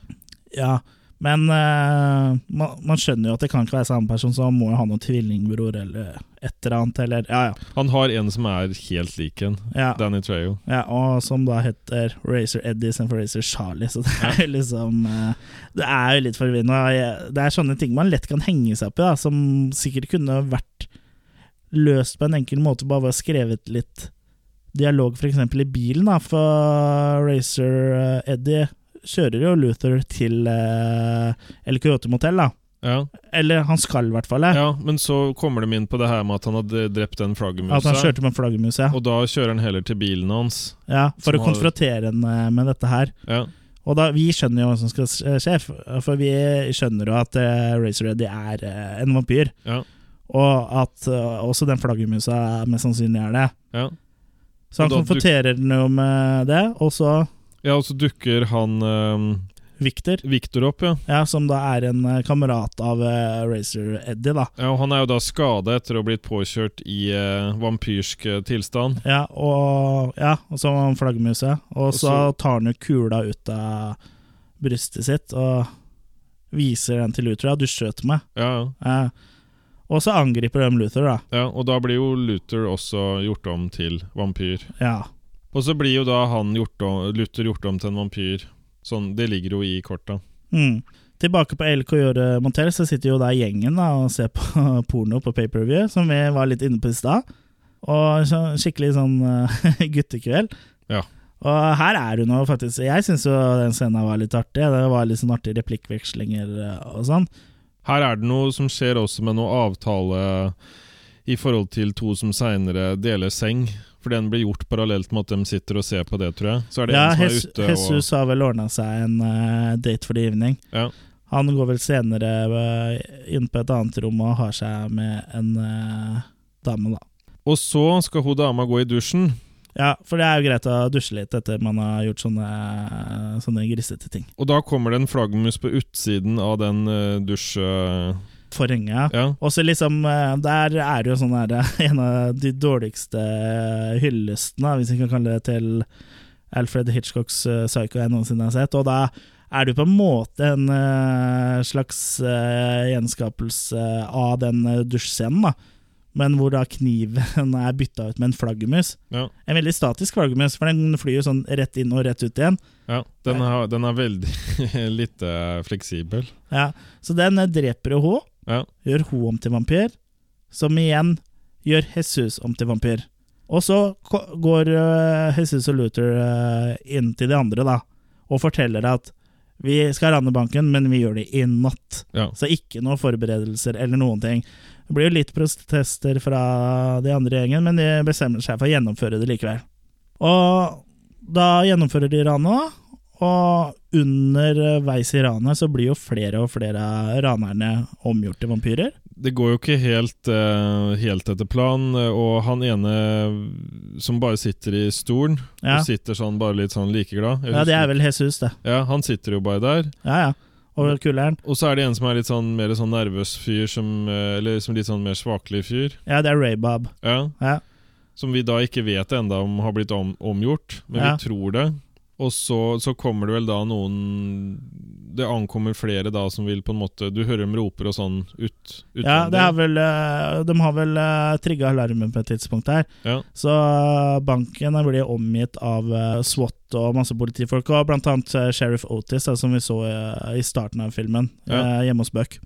Speaker 1: Ja, men eh, man, man skjønner jo at det kan ikke være samme person, så han må jo ha noen tvillingbror eller et eller annet. Eller, ja, ja,
Speaker 2: Han har en som er helt lik en.
Speaker 1: ja,
Speaker 2: Danny Trejo.
Speaker 1: ja, og som da heter Racer Eddie istedenfor Racer Charlie, så det er jo liksom eh, Det er jo litt forvirrende. og jeg- Det er sånne ting man lett kan henge seg opp i, da, som sikkert kunne vært løst på en enkel måte, bare var skrevet litt dialog, f.eks. i bilen, da, for Racer eh, Eddie kjører jo Luther til eh, El Coyote Motel, da.
Speaker 2: Ja.
Speaker 1: Eller han skal, i hvert fall. eh,
Speaker 2: ja, men så kommer de inn på det her med at han hadde drept
Speaker 1: At
Speaker 2: den
Speaker 1: han
Speaker 2: flaggermusa.
Speaker 1: kjørte med flaggermus, ja.
Speaker 2: Og da kjører han heller til bilen hans.
Speaker 1: ja. For å
Speaker 2: Som har-
Speaker 1: konfrontere henne med dette her.
Speaker 2: Ja,
Speaker 1: Og da, vi skjønner jo hva som skal skje, for vi skjønner jo at eh, Razor Eddie er eh, en vampyr.
Speaker 2: ja,
Speaker 1: Og at eh, også den flaggermusa mest sannsynlig er det.
Speaker 2: ja.
Speaker 1: Så han
Speaker 2: Og da duk-
Speaker 1: konfronterer den jo med det, og så
Speaker 2: Ja, og så dukker han ehm,
Speaker 1: Victor,
Speaker 2: Victor opp, ja.
Speaker 1: ja, som da er en eh, kamerat av eh, Razor Eddie, da.
Speaker 2: ja. Og han er jo da skada etter å ha blitt påkjørt i eh, vampyrsk eh, tilstand.
Speaker 1: Ja, og, ja, og så har han flaggermusa, og så
Speaker 2: så-
Speaker 1: tar han jo kula ut av brystet sitt og viser den til Luther. Ja, du skjøt meg.
Speaker 2: Ja, ja.
Speaker 1: Ja. Og så angriper de Luther, da.
Speaker 2: ja. Og da blir jo Luther også gjort om til vampyr.
Speaker 1: Ja.
Speaker 2: Og så blir jo da han gjort om, Luther gjort om til en vampyr. Sånn, Det ligger jo i korta.
Speaker 1: Mm. Tilbake på LK Gjøre Montell, så sitter jo der gjengen da, og ser på *laughs* porno på pay-per-view, som vi var litt inne på i stad. Og en sånn skikkelig sånn eh, *laughs* guttekveld.
Speaker 2: Ja.
Speaker 1: Og her er hun jo faktisk Jeg syns jo den scenen var litt artig. Det var litt sånn artige replikkvekslinger eh, og sånn.
Speaker 2: Her er det noe som skjer også med noe avtale i forhold til to som seinere deler seng. For den blir gjort parallelt med at de sitter og ser på det, tror jeg. Så er det
Speaker 1: Ja,
Speaker 2: en som er
Speaker 1: Hes-
Speaker 2: ute og
Speaker 1: Jesus har vel ordna seg en eh, date for the evening.
Speaker 2: ja.
Speaker 1: Han går vel senere eh, inn på et annet rom og har seg med en eh, dame, da.
Speaker 2: Og så skal hun dama gå i dusjen.
Speaker 1: Ja, for det er jo greit å dusje litt etter man har gjort sånne, eh, sånne grisete ting.
Speaker 2: Og da kommer det en flaggermus på utsiden av den uh, dusj... eh,
Speaker 1: Forhenget.
Speaker 2: ja.
Speaker 1: Og så liksom, eh, der er det jo sånn her eh, *laughs* En av de dårligste hyllestene, hvis vi kan kalle det, til Alfred Hitchcocks eh, Psycho jeg noensinne har sett. Og da er det jo på en måte en eh, slags eh, gjenskapelse av den eh, dusjscenen, da. Men hvor da kniven *laughs* er bytta ut med en flaggermus.
Speaker 2: ja.
Speaker 1: En veldig statisk flaggermus, for den flyr jo sånn rett inn og rett ut igjen.
Speaker 2: Ja, den er, den er veldig *laughs* lite fleksibel.
Speaker 1: Ja, så den eh, dreper jo hun,
Speaker 2: Ja.
Speaker 1: gjør hun om til vampyr, som igjen gjør Jesus om til vampyr. Og så ko- går eh, Jesus og Luther eh, inn til de andre da, og forteller at vi skal rane banken, men vi gjør det i natt.
Speaker 2: Ja.
Speaker 1: Så ikke noen forberedelser eller noen ting. Det blir jo litt protester fra de andre gjengen, men de bestemmer seg for å gjennomføre det likevel. Og da gjennomfører de ranet, da. Og underveis i ranet så blir jo flere og flere av ranerne omgjort til vampyrer.
Speaker 2: Det går jo ikke helt, eh, helt etter planen, og han ene som bare sitter i stolen,
Speaker 1: Ja.
Speaker 2: og sitter sånn bare litt sånn likeglad Jeg
Speaker 1: Ja, det er
Speaker 2: husker-
Speaker 1: vel Jesus, det.
Speaker 2: Ja, han sitter jo bare der.
Speaker 1: Ja, ja. Over kulleren.
Speaker 2: Og så er det en som er litt sånn mer sånn nervøs fyr, som, eh, eller som litt sånn mer svakelig fyr,
Speaker 1: Ja, det er Raybob.
Speaker 2: ja,
Speaker 1: Ja.
Speaker 2: som vi da ikke vet enda om har blitt om, omgjort, men
Speaker 1: Ja.
Speaker 2: vi tror det. Og så, så kommer det vel da noen Det ankommer flere da som vil på en måte Du hører dem roper og sånn ut.
Speaker 1: ja,
Speaker 2: utenfor.
Speaker 1: det er vel eh, De har vel uh, trigga alarmen på et tidspunkt her.
Speaker 2: Ja.
Speaker 1: Så eh, banken blir omgitt av eh, SWAT og masse politifolk, og blant annet eh, Sheriff Otis, da, som vi så eh, i starten av filmen,
Speaker 2: Ja.
Speaker 1: eh, hjemme hos Buck.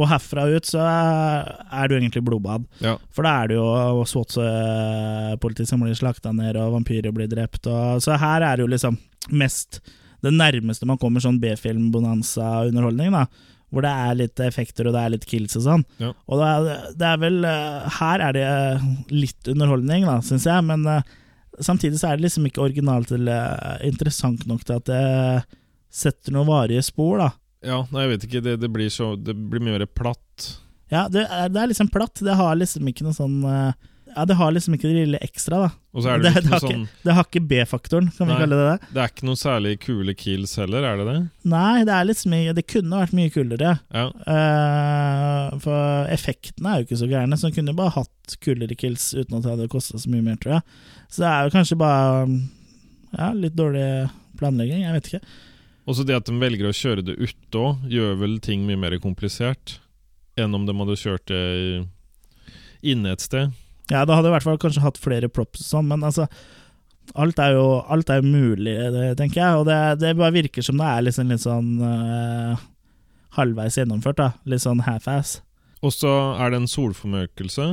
Speaker 1: Og herfra ut så er er det jo egentlig blodbad.
Speaker 2: Ja.
Speaker 1: For da er det jo SWAT-politi som blir slakta ned, og vampyrer blir drept. Og, så her er det jo liksom mest det nærmeste man kommer sånn B-film-bonanza-underholdning. da Hvor det er litt effekter og det er litt kills og sånn.
Speaker 2: Ja.
Speaker 1: Og det er, det er vel eh, Her er det eh, litt underholdning, da, syns jeg, men eh, samtidig så er det liksom ikke originalt eller eh, interessant nok til at det setter noen varige spor, da.
Speaker 2: Ja, nei, jeg vet ikke. Det, det blir så Det blir mye mer platt.
Speaker 1: Ja, det er, det er liksom platt. Det har liksom ikke noe sånn eh, Ja, det har liksom ikke det lille ekstra, da.
Speaker 2: Og
Speaker 1: *laughs*
Speaker 2: så er det,
Speaker 1: det,
Speaker 2: vel ikke
Speaker 1: har
Speaker 2: noe sånn
Speaker 1: ikke, det har ikke B-faktoren, kan vi
Speaker 2: Nei.
Speaker 1: kalle det det?
Speaker 2: Det er ikke noe særlig kule kills heller, er det det?
Speaker 1: Nei, det er liksom mye Det kunne vært mye kulere.
Speaker 2: Ja.
Speaker 1: Eh, for effektene er jo ikke så gærne, så en kunne bare hatt kulere kills uten at det hadde kosta så mye mer, tror jeg. Så det er jo kanskje bare mm, ja, litt dårlig planlegging, jeg vet ikke.
Speaker 2: Og så det at de velger å kjøre det utå, gjør vel ting mye mer komplisert enn om de hadde kjørt det i- inne et sted.
Speaker 1: Ja, da hadde jeg i hvert fall kanskje hatt flere props og sånn, men altså Alt er jo, alt er jo mulig, eh, det, tenker jeg, og det, det bare virker som det er liksom litt sånn eh, halvveis gjennomført, da. Litt sånn half-ass.
Speaker 2: Og så er det en solformørkelse.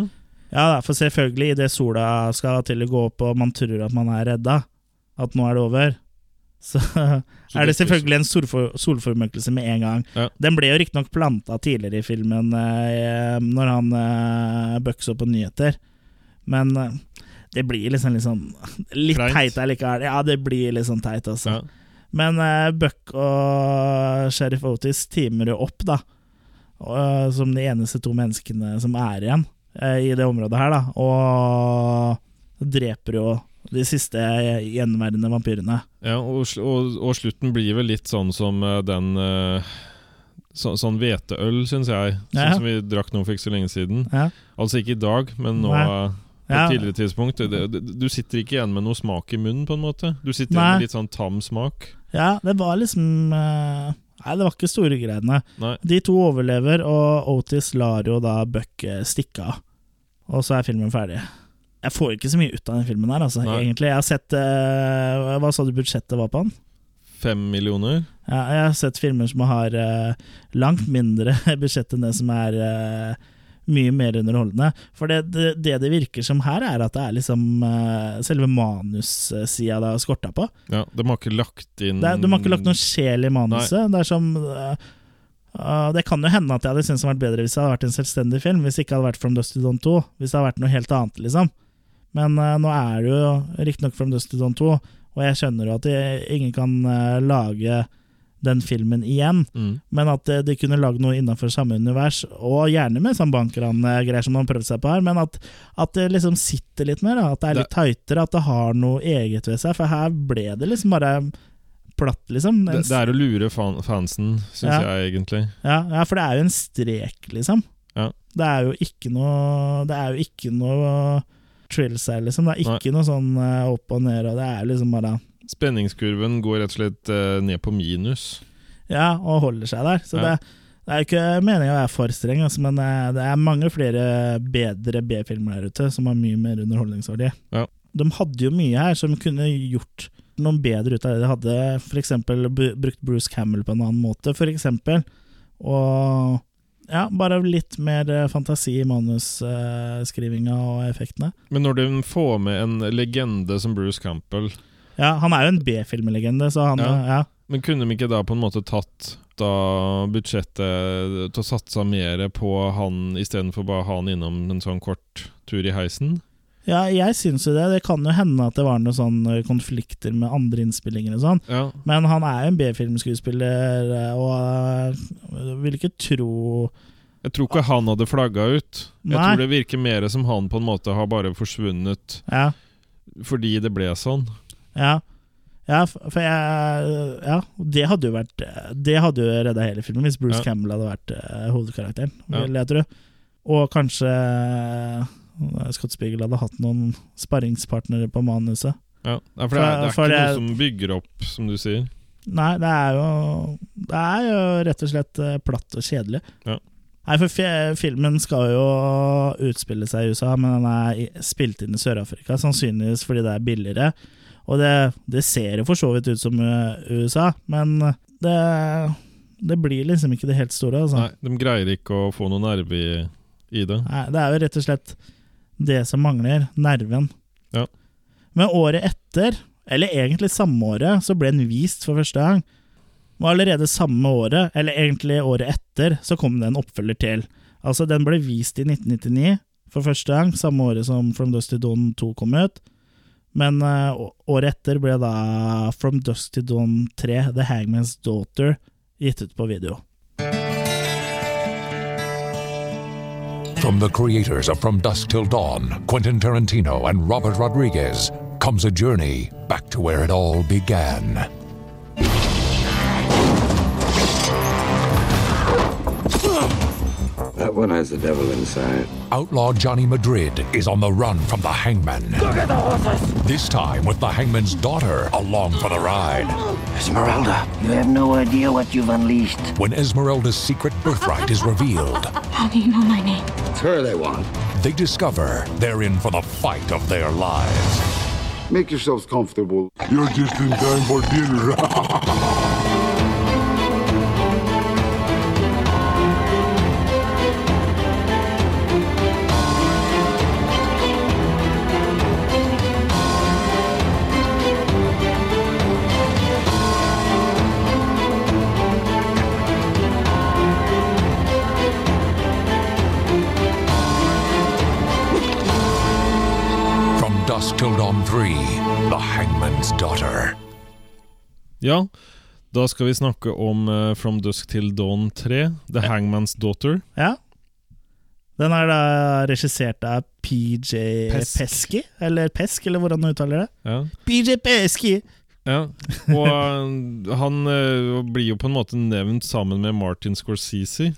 Speaker 1: Ja, da, for selvfølgelig, idet sola skal til å gå opp og man tror at man er redda, at nå er det over, *laughs* så, er det
Speaker 2: dekker-
Speaker 1: selvfølgelig en solfor, solformørkelse med en gang.
Speaker 2: Ja.
Speaker 1: Den ble jo riktignok planta tidligere i filmen eh, når han eh, bøksa på nyheter, men eh, det blir liksom litt sånn Litt
Speaker 2: Kleint.
Speaker 1: teit allikevel. Ja, det blir litt sånn teit, altså.
Speaker 2: Ja.
Speaker 1: Men eh, Buck og sheriff Otis teamer jo opp, da. Og, eh, som de eneste to menneskene som er igjen eh, i det området her, da. Og dreper jo de siste eh, gjenværende vampyrene.
Speaker 2: Ja, og, sl- og, og slutten blir vel litt sånn som eh, den eh, så, Sånn hveteøl, syns jeg. Sånn
Speaker 1: Ja.
Speaker 2: som vi drakk nå for ikke så lenge siden.
Speaker 1: Ja.
Speaker 2: Altså ikke i dag, men nå
Speaker 1: Nei.
Speaker 2: eh, på
Speaker 1: Ja.
Speaker 2: et tidligere tidspunkt. Det, det, du sitter ikke igjen med noe smak i munnen, på en måte. Du sitter
Speaker 1: Nei.
Speaker 2: igjen med litt sånn tam smak.
Speaker 1: ja, det var liksom eh, Nei, det var ikke store greiene.
Speaker 2: Nei.
Speaker 1: De to overlever, og Otis lar jo da Buck eh, stikke av. Og så er filmen ferdig. Jeg får ikke så mye ut av den filmen her, altså,
Speaker 2: Nei.
Speaker 1: egentlig. Jeg har sett eh, Hva sa du budsjettet var på den?
Speaker 2: Fem millioner?
Speaker 1: Ja, jeg har sett filmer som har eh, langt mindre *laughs* budsjett enn det som er eh, mye mer underholdende. For det det, det det virker som her, er at det er liksom eh, selve manussida det er skorta på.
Speaker 2: Ja, de har ikke lagt inn
Speaker 1: Det er, de har ikke lagt noen sjel i manuset. Det er som eh, eh, Det kan jo hende at jeg hadde syntes det hadde vært bedre hvis det hadde vært en selvstendig film, hvis det ikke hadde vært From Dust to Dawn 2. Hvis det hadde vært noe helt annet, liksom. Men eh, nå er det jo riktignok From Dust to Dawn 2, og jeg skjønner jo at jeg, ingen kan eh, lage den filmen igjen,
Speaker 2: Mm.
Speaker 1: men at eh, de kunne lagd noe innenfor samme univers, og gjerne med sånn bankran-greier som de har prøvd seg på her, men at, at det liksom sitter litt mer, da, at det er litt tightere, at det har noe eget ved seg, for her ble det liksom bare platt, liksom. En
Speaker 2: Det, det er å lure fan, fansen, syns
Speaker 1: Ja.
Speaker 2: jeg egentlig.
Speaker 1: ja, ja, for det er jo en strek, liksom.
Speaker 2: Ja.
Speaker 1: Det er jo ikke noe Det er jo ikke noe trills her, liksom. Det er ikke noe sånn eh, opp og ned, og det er liksom bare
Speaker 2: Spenningskurven går rett og slett eh, ned på minus.
Speaker 1: Ja, og holder seg der. Så
Speaker 2: Ja.
Speaker 1: det, det er jo ikke meninga å være for streng, altså, men eh, det er mange flere bedre B-filmer der ute som har mye mer underholdningsverdi.
Speaker 2: Ja.
Speaker 1: De hadde jo mye her som kunne gjort noe bedre ut av det de hadde. For eksempel bu- brukt Bruce Campbell på en annen måte, for eksempel. Og ja, bare litt mer eh, fantasi i manusskrivinga og effektene.
Speaker 2: Men når de får med en legende som Bruce Campbell
Speaker 1: Ja, han er jo en B-filmlegende, så han
Speaker 2: Ja.
Speaker 1: eh, ja.
Speaker 2: Men kunne de ikke da på en måte tatt da budsjettet til å satsa mer på han istedenfor bare å ha han innom en sånn kort tur i heisen?
Speaker 1: Ja, jeg syns jo det. Det kan jo hende at det var noen sånne konflikter med andre innspillinger og sånn.
Speaker 2: Ja,
Speaker 1: Men han er jo en B-filmskuespiller, eh, og eh, vil ikke tro
Speaker 2: Jeg tror ikke han hadde flagga ut. Jeg
Speaker 1: Nei.
Speaker 2: tror det virker mer som han på en måte har bare forsvunnet
Speaker 1: Ja,
Speaker 2: fordi det ble sånn.
Speaker 1: ja. Ja, f- for jeg Ja, det hadde jo vært Det hadde jo redda hele filmen hvis Bruce
Speaker 2: Ja.
Speaker 1: Campbell hadde vært eh, hovedkarakteren,
Speaker 2: Ja.
Speaker 1: vil jeg tro. Og kanskje eh, Scott Spiegel hadde hatt noen sparringspartnere på manuset.
Speaker 2: Ja, Nei, for det er, det
Speaker 1: For-
Speaker 2: er
Speaker 1: for
Speaker 2: ikke
Speaker 1: det-
Speaker 2: noe som bygger opp, som du sier.
Speaker 1: Nei, det er jo Det er jo rett og slett eh, platt og kjedelig.
Speaker 2: Ja.
Speaker 1: Nei, for fi- filmen skal jo utspille seg i USA, men den er i- spilt inn i Sør-Afrika, sannsynligvis fordi det er billigere. Og det, det ser jo for så vidt ut som eh, USA, men det, det blir liksom ikke det helt store. Altså.
Speaker 2: Nei, De greier ikke å få noe nerve i, i det.
Speaker 1: Nei, det er jo rett og slett det som mangler, nerven.
Speaker 2: Ja.
Speaker 1: Men året etter, eller egentlig samme året, så ble den vist for første gang. Og allerede samme året, eller egentlig året etter, så kom det en oppfølger til. Altså, den ble vist i 1999 for første gang, samme året som From Dust to Dawn 2 kom ut. Men eh, å- året etter ble da From Dust to Dawn 3, The Hangman's Daughter, gitt ut på video.
Speaker 6: From the creators of From Dusk Till Dawn, Quentin Tarantino and Robert Rodriguez, comes a journey back to where it all began.
Speaker 4: That one has the devil inside.
Speaker 6: Outlaw Johnny Madrid is on the run from the hangman. Look at the horses! This time with the hangman's daughter along for the ride.
Speaker 7: Esmeralda.
Speaker 9: You have no idea what you've unleashed.
Speaker 6: When Esmeralda's secret birthright is revealed,
Speaker 5: How do you know my name?
Speaker 4: It's her they want.
Speaker 6: they discover they're in for the fight of their lives.
Speaker 10: Make yourselves comfortable.
Speaker 6: You're just in time for dinner. Dusk Till Dawn 3 The Hangman's Daughter.
Speaker 2: Ja, da skal vi snakke om eh, From Dusk Till Dawn 3, The Hangman's Daughter.
Speaker 1: Ja. Den er da regissert av PJ
Speaker 2: Pesk.
Speaker 1: Pesky, eller Pesk, eller hvordan han uttaler det.
Speaker 2: Ja.
Speaker 1: PJ Pesky!
Speaker 2: Ja, og eh, han eh, blir jo på en måte nevnt sammen med Martin Scorsese.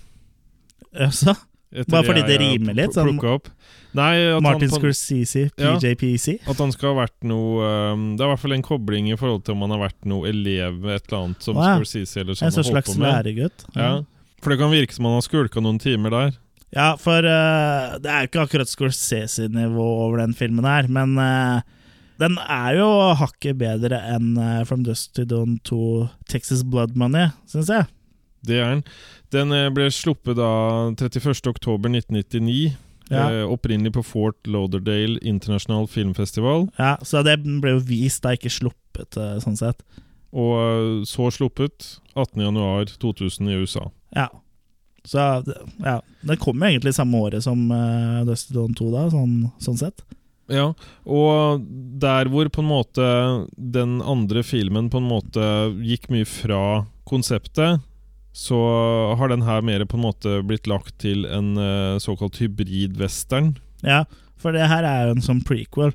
Speaker 1: Altså,
Speaker 2: etter
Speaker 1: Bare fordi
Speaker 2: jeg
Speaker 1: det
Speaker 2: har
Speaker 1: rimer litt,
Speaker 2: pl-
Speaker 1: sånn-
Speaker 2: plukket opp. Nei, at
Speaker 1: Martin
Speaker 2: han, på,
Speaker 1: Scorsese,
Speaker 2: Ja.
Speaker 1: PJPC.
Speaker 2: at han skal ha vært noe eh, Det er i hvert fall en kobling i forhold til om han har vært noe elev et eller annet som
Speaker 1: Å ja.
Speaker 2: Scorsese eller
Speaker 1: En
Speaker 2: som
Speaker 1: sånn
Speaker 2: har holdt
Speaker 1: slags Mm.
Speaker 2: på med.
Speaker 1: læregutt.
Speaker 2: Ja. For det kan virke som han har skulka noen timer der.
Speaker 1: Ja, for eh, det er jo ikke akkurat Scorsese-nivå over den filmen her, men eh, den er jo hakket bedre enn eh, From Dust to Dawn 2 Texas Blood Money, syns jeg.
Speaker 2: Det er den. Den eh, ble sluppet da 31.10.1999.
Speaker 1: Ja.
Speaker 2: Eh, opprinnelig på Fort Lauderdale International Filmfestival,
Speaker 1: Ja, Så det ble jo vist, da, ikke sluppet, eh, sånn sett.
Speaker 2: og eh, så sluppet 18.1.2000 i USA.
Speaker 1: Ja. Så ja, den kom jo egentlig samme året som uh, Dust to Dawn 2, da, sånn, sånn sett.
Speaker 2: Ja, og der hvor på en måte den andre filmen på en måte gikk mye fra konseptet, så har den her mer på en måte blitt lagt til en eh, såkalt hybrid-western.
Speaker 1: Ja, for det her er jo en sånn prequel.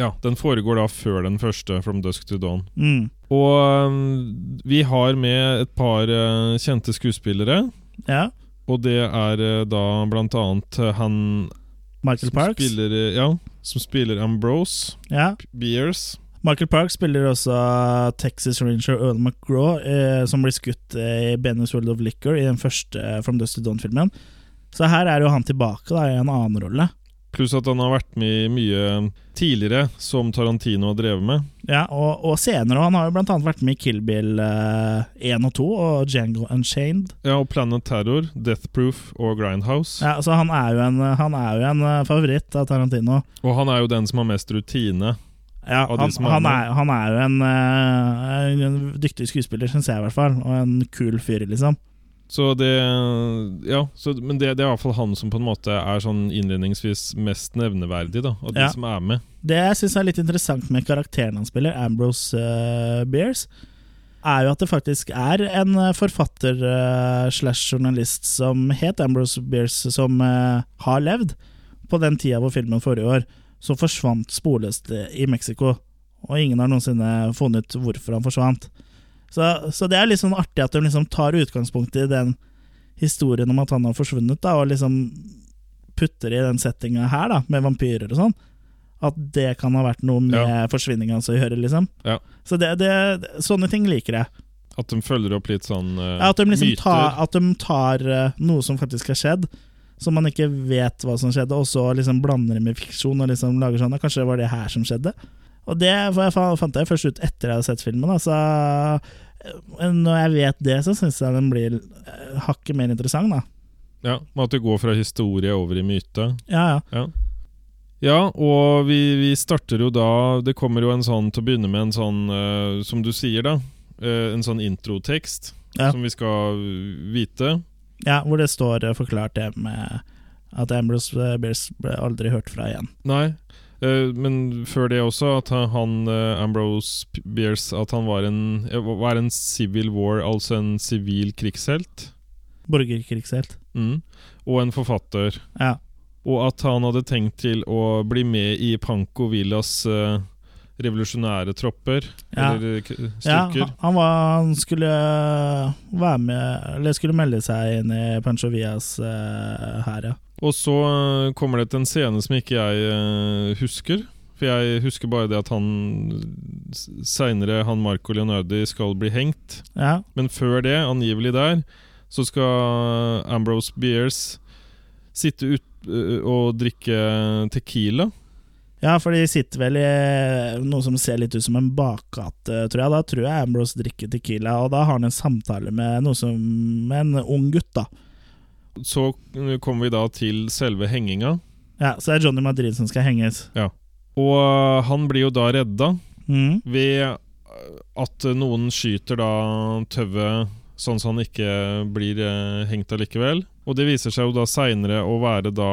Speaker 2: Ja, den foregår da før den første, From Dusk to Dawn.
Speaker 1: Mm.
Speaker 2: Og eh, vi har med et par eh, kjente skuespillere,
Speaker 1: Ja.
Speaker 2: og det er eh, da blant annet eh, han
Speaker 1: Michael
Speaker 2: som
Speaker 1: Parks.
Speaker 2: spiller, eh, ja, som spiller Ambrose
Speaker 1: Ja.
Speaker 2: Beers.
Speaker 1: Michael Parks spiller også eh, Texas Ranger Earl McGraw, eh, som blir skutt eh, i Benny's World of Liquor i den første eh, From Dust to Dawn-filmen. Så her er jo han tilbake da, i en annen rolle.
Speaker 2: Pluss at han har vært med i mye tidligere, som Tarantino har drevet med.
Speaker 1: Ja, og, og senere, og han har jo blant annet vært med i Kill Bill eh, 1 og 2 og Django Unchained.
Speaker 2: Ja, og Planet Terror, Death Proof og Grindhouse.
Speaker 1: Ja, så han er jo en, han er jo en eh, favoritt av Tarantino.
Speaker 2: Og han er jo den som har mest rutine.
Speaker 1: Ja,
Speaker 2: Av de
Speaker 1: han,
Speaker 2: som er
Speaker 1: han,
Speaker 2: med.
Speaker 1: er, han er jo en, eh, en dyktig skuespiller, syns jeg i hvert fall, og en kul fyr, liksom.
Speaker 2: Så det Ja, så, men det, det er i hvert fall han som på en måte er sånn innledningsvis mest nevneverdig, da. Av de
Speaker 1: Ja.
Speaker 2: som er med.
Speaker 1: Det jeg syns er litt interessant med karakteren han spiller, Ambrose eh, Bierce, er jo at det faktisk er en eh, forfatter eh, slash journalist som het Ambrose Bierce, som eh, har levd. På den tida hvor filmen forrige år, så forsvant sporløst i Mexico. Og ingen har noensinne funnet ut hvorfor han forsvant. Så, så det er litt sånn artig at de liksom tar utgangspunkt i den historien om at han har forsvunnet, da, og liksom putter i den settinga her, da, med vampyrer og sånn. At det kan ha vært noe med
Speaker 2: Ja.
Speaker 1: forsvinninga hans å gjøre, liksom.
Speaker 2: Ja.
Speaker 1: Så det, det, sånne ting liker jeg.
Speaker 2: At de følger opp litt sånn eh,
Speaker 1: Ja, at de liksom
Speaker 2: myter.
Speaker 1: tar, at de tar eh, noe som faktisk har skjedd, som man ikke vet hva som skjedde, og så liksom blander det med fiksjon og liksom lager sånn «Ja, Kanskje det var det her som skjedde? Og det var jeg, fa- fant jeg først ut etter jeg hadde sett filmen. Da. Så eh, når jeg vet det, så syns jeg den blir eh, hakket mer interessant, da.
Speaker 2: Ja, med at det går fra historie over i myte.
Speaker 1: Ja, ja.
Speaker 2: Ja. Ja, og vi, vi starter jo da Det kommer jo en sånn til å begynne med en sånn, eh, som du sier, da. eh, en sånn introtekst
Speaker 1: Ja.
Speaker 2: som vi skal vite.
Speaker 1: Ja, hvor det står eh, forklart det med at Ambrose eh, Bierce ble aldri hørt fra igjen.
Speaker 2: Nei. eh, men før det også, at han- han eh, Ambrose P- Bierce At han var en eh, Hva er en civil war, altså en sivil krigshelt?
Speaker 1: Borgerkrigshelt.
Speaker 2: Mm. Og en forfatter.
Speaker 1: Ja.
Speaker 2: Og at han hadde tenkt til å bli med i Panko Villas eh, revolusjonære tropper.
Speaker 1: Ja.
Speaker 2: Eller eh, k-
Speaker 1: Ja,
Speaker 2: styrker.
Speaker 1: han, han, var, han skulle eh, være med Eller skulle melde seg inn i Pancho Villas eh, her, ja.
Speaker 2: Og så øh, kommer det til en scene som ikke jeg øh, husker. For jeg husker bare det at han seinere, han Marco Leonardi, skal bli hengt.
Speaker 1: ja.
Speaker 2: Men før det, angivelig der, så skal Ambrose Beers sitte ut øh, og drikke tequila.
Speaker 1: Ja, for de sitter vel i noe som ser litt ut som en bakgate, tror jeg. Da tror jeg Ambrose drikker Tequila, og da har han en samtale med noe som med en ung gutt, da.
Speaker 2: Så øh, kommer vi da til selve henginga.
Speaker 1: Ja, Så det er Johnny Madrid som skal henges.
Speaker 2: Og øh, han blir jo da redda
Speaker 1: Mm.
Speaker 2: ved øh, at noen skyter da tøvet sånn så eh, han ikke blir øh, hengt allikevel. Og det viser seg jo da seinere å være da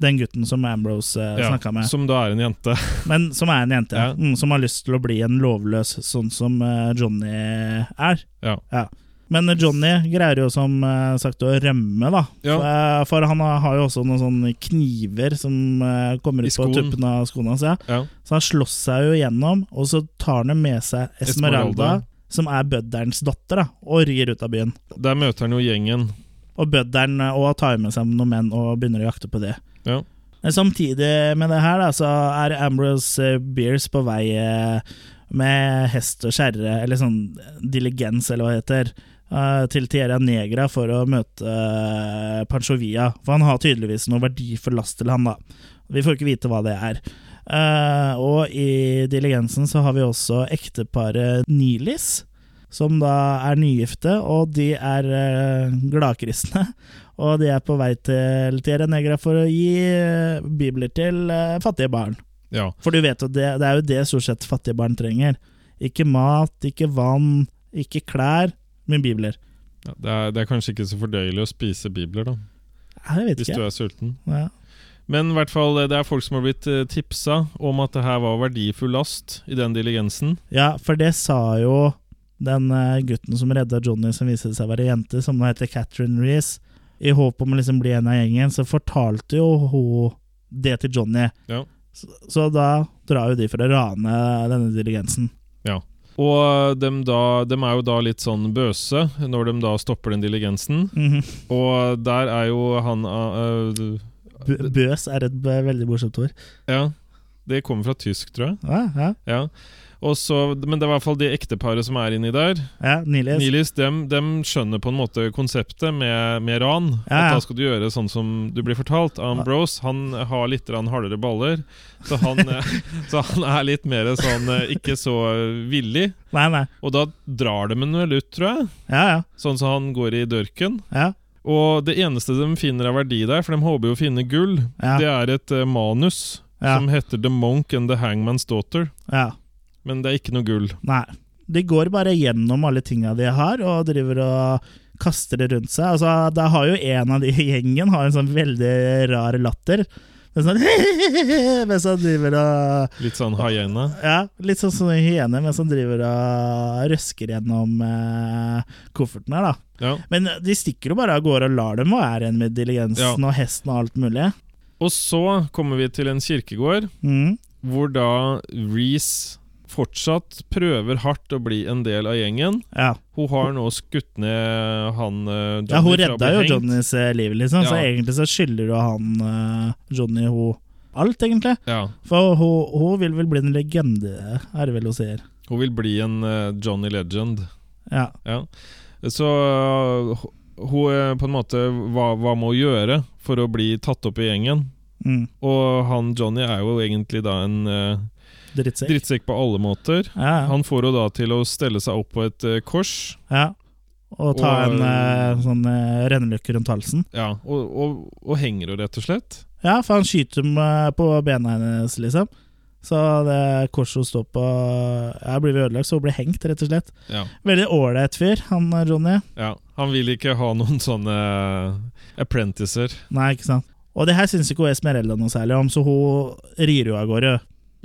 Speaker 1: Den gutten som Ambrose uh,
Speaker 2: Ja,
Speaker 1: snakka med.
Speaker 2: Som da er en jente. *laughs*
Speaker 1: Men som er en jente, ja.
Speaker 2: Ja.
Speaker 1: mm, som har lyst til å bli en lovløs, sånn som eh, Johnny er.
Speaker 2: Ja.
Speaker 1: Ja. Men Johnny greier jo som eh, sagt å rømme, da.
Speaker 2: Ja.
Speaker 1: Eh, For han har- har jo også noen sånne kniver som eh, kommer
Speaker 2: I
Speaker 1: ut på
Speaker 2: skoen.
Speaker 1: tuppen av skoene hans. Ja.
Speaker 2: Ja.
Speaker 1: Så han slåss seg jo igjennom, og så tar han jo med seg Esmeralda,
Speaker 2: Esmeralda.
Speaker 1: som er bødderens datter, da, og rygger ut av byen.
Speaker 2: Der møter han jo gjengen.
Speaker 1: Og bødderen eh, og tar med seg noen menn og begynner å jakte på det.
Speaker 2: Ja.
Speaker 1: Men Samtidig med det her da, så er Ambrose eh, Bierce på vei eh, med hest og kjerre, eller sånn diligens, eller hva det heter, eh, til Tierra Negra for å møte eh, Pancho Villa. For han har tydeligvis noe verdifull last til han, da. Vi får ikke vite hva det er. Eh, og i diligensen så har vi også ekteparet Nilis, som da er nygifte, og de er eh, gladkristne. Og de er på vei til Tierra Negra for å gi eh, bibler til eh, fattige barn.
Speaker 2: ja.
Speaker 1: For du vet jo, det, det er jo det stort sett fattige barn trenger. Ikke mat, ikke vann, ikke klær, men bibler.
Speaker 2: Ja, Det, er, det er kanskje ikke så fordøyelig å spise bibler, da,
Speaker 1: Nei, Jeg vet
Speaker 2: hvis du
Speaker 1: ikke.
Speaker 2: er sulten.
Speaker 1: Ja.
Speaker 2: Men i hvert fall, det er folk som har blitt eh, tipsa om at det her var verdifull last i den diligensen.
Speaker 1: ja, for det sa jo den eh, gutten som redda Johnny, som viste seg å være jente, som nå heter Catherine Reece, i håp om å liksom bli en av gjengen, så fortalte jo hun det til Johnny.
Speaker 2: Ja.
Speaker 1: Så, så da drar jo de for å rane denne diligensen.
Speaker 2: Ja. Og de, da, dem er jo da litt sånn bøse når de da stopper den diligensen.
Speaker 1: Mhm.
Speaker 2: Og der er jo han eh,
Speaker 1: Bø- Bøs er et b- veldig morsomt ord.
Speaker 2: Ja. Det kommer fra tysk, tror jeg.
Speaker 1: Ja, ja.
Speaker 2: Ja. Og så, men det er i hvert fall det ekteparet som er inni der.
Speaker 1: ja Nilis.
Speaker 2: Nilis, dem, dem skjønner på en måte konseptet med, med ran.
Speaker 1: Ja, ja.
Speaker 2: At da skal du gjøre sånn som du blir fortalt. Ambrose han har litt grann hardere baller, så han, eh, *laughs* så han er litt mer sånn eh, ikke så villig.
Speaker 1: Nei, nei.
Speaker 2: Og da drar de ham vel ut, tror jeg.
Speaker 1: Ja, ja.
Speaker 2: Sånn som han går i dørken.
Speaker 1: ja.
Speaker 2: Og det eneste de finner av verdi der, for de håper jo å finne gull,
Speaker 1: Ja.
Speaker 2: det er et eh, manus
Speaker 1: Ja.
Speaker 2: som heter The Monk and The Hangman's Daughter.
Speaker 1: ja.
Speaker 2: Men det er ikke noe gull.
Speaker 1: Nei. De går bare gjennom alle tinga de har, og driver og kaster det rundt seg. Altså, da har jo en av de i gjengen har en sånn veldig rar latter. Men sånn *laughs* Mens han driver og
Speaker 2: Litt sånn hyena.
Speaker 1: Ja, litt sånn som en hyene mens han driver og røsker gjennom eh, kofferten her, da.
Speaker 2: Ja.
Speaker 1: Men de stikker jo bare av gårde og lar dem være igjen med diligensen
Speaker 2: Ja.
Speaker 1: og hesten og alt mulig.
Speaker 2: Og så kommer vi til en kirkegård
Speaker 1: Mm.
Speaker 2: hvor da Reece fortsatt prøver hardt å bli en del av gjengen.
Speaker 1: Ja.
Speaker 2: Hun har nå skutt ned han eh, Johnny
Speaker 1: Ja, hun
Speaker 2: fra å bli
Speaker 1: redda jo
Speaker 2: hengt.
Speaker 1: Johnnys eh, liv, liksom, så
Speaker 2: Ja.
Speaker 1: egentlig så skylder jo han eh, Johnny hun alt, egentlig.
Speaker 2: Ja,
Speaker 1: For hun, hun vil vel bli en legende, er det vel hun sier.
Speaker 2: hun vil bli en eh, Johnny Legend.
Speaker 1: Ja,
Speaker 2: Ja. Så eh, hu- hun eh, på en måte hva, hva må hun gjøre for å bli tatt opp i gjengen?
Speaker 1: mm,
Speaker 2: Og han Johnny er jo egentlig da en eh,
Speaker 1: Drittsekk.
Speaker 2: drittsekk på alle måter.
Speaker 1: Ja, ja.
Speaker 2: Han får henne da til å stelle seg opp på et eh, kors.
Speaker 1: ja. Og ta
Speaker 2: Og-
Speaker 1: en eh, sånn eh, rennelykke rundt halsen.
Speaker 2: Ja, og, og, og henger jo rett og slett.
Speaker 1: Ja, for han skyter dem eh, på bena hennes, liksom. Så det korset hun står på ja, Blir vi ødelagt, så hun blir hengt, rett og slett.
Speaker 2: Ja.
Speaker 1: Veldig ålreit fyr, han eh, Johnny.
Speaker 2: ja. Han vil ikke ha noen sånne eh, apprenticer.
Speaker 1: Nei, ikke sant. Og det her syns ikke hun Esmerelda noe særlig om, så hun rir jo av gårde.